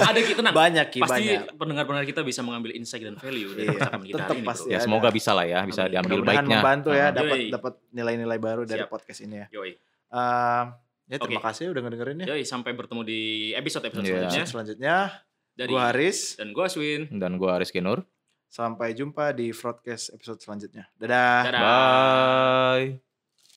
S3: ada kita tenang.
S1: Banyak Ki,
S3: pasti
S1: banyak.
S3: pendengar-pendengar kita bisa mengambil insight dan value dari
S1: Iya,
S3: percakapan kita
S1: tetep
S3: hari ini.
S1: pasti.
S3: Bro.
S4: ya semoga bisa lah ya, bisa
S3: Amin.
S4: diambil
S1: Mudah-mudahan
S4: baiknya.
S1: membantu ya,
S4: Ah.
S1: dapat
S3: Yoi.
S1: dapat nilai-nilai baru dari
S3: Siap.
S1: podcast ini ya.
S3: Yoi.
S1: Eh, ya terima
S3: Oke. Iya.
S1: kasih udah ngedengerin ya.
S3: Yoi, sampai bertemu di episode-episode
S4: Iya.
S3: selanjutnya.
S1: Episode Selanjutnya,
S3: Dari
S1: gua Haris.
S3: dan gua Aswin.
S4: Dan gua Aris Kinur.
S1: Sampai jumpa di broadcast episode selanjutnya. Dadah.
S3: Dadah.
S4: Bye.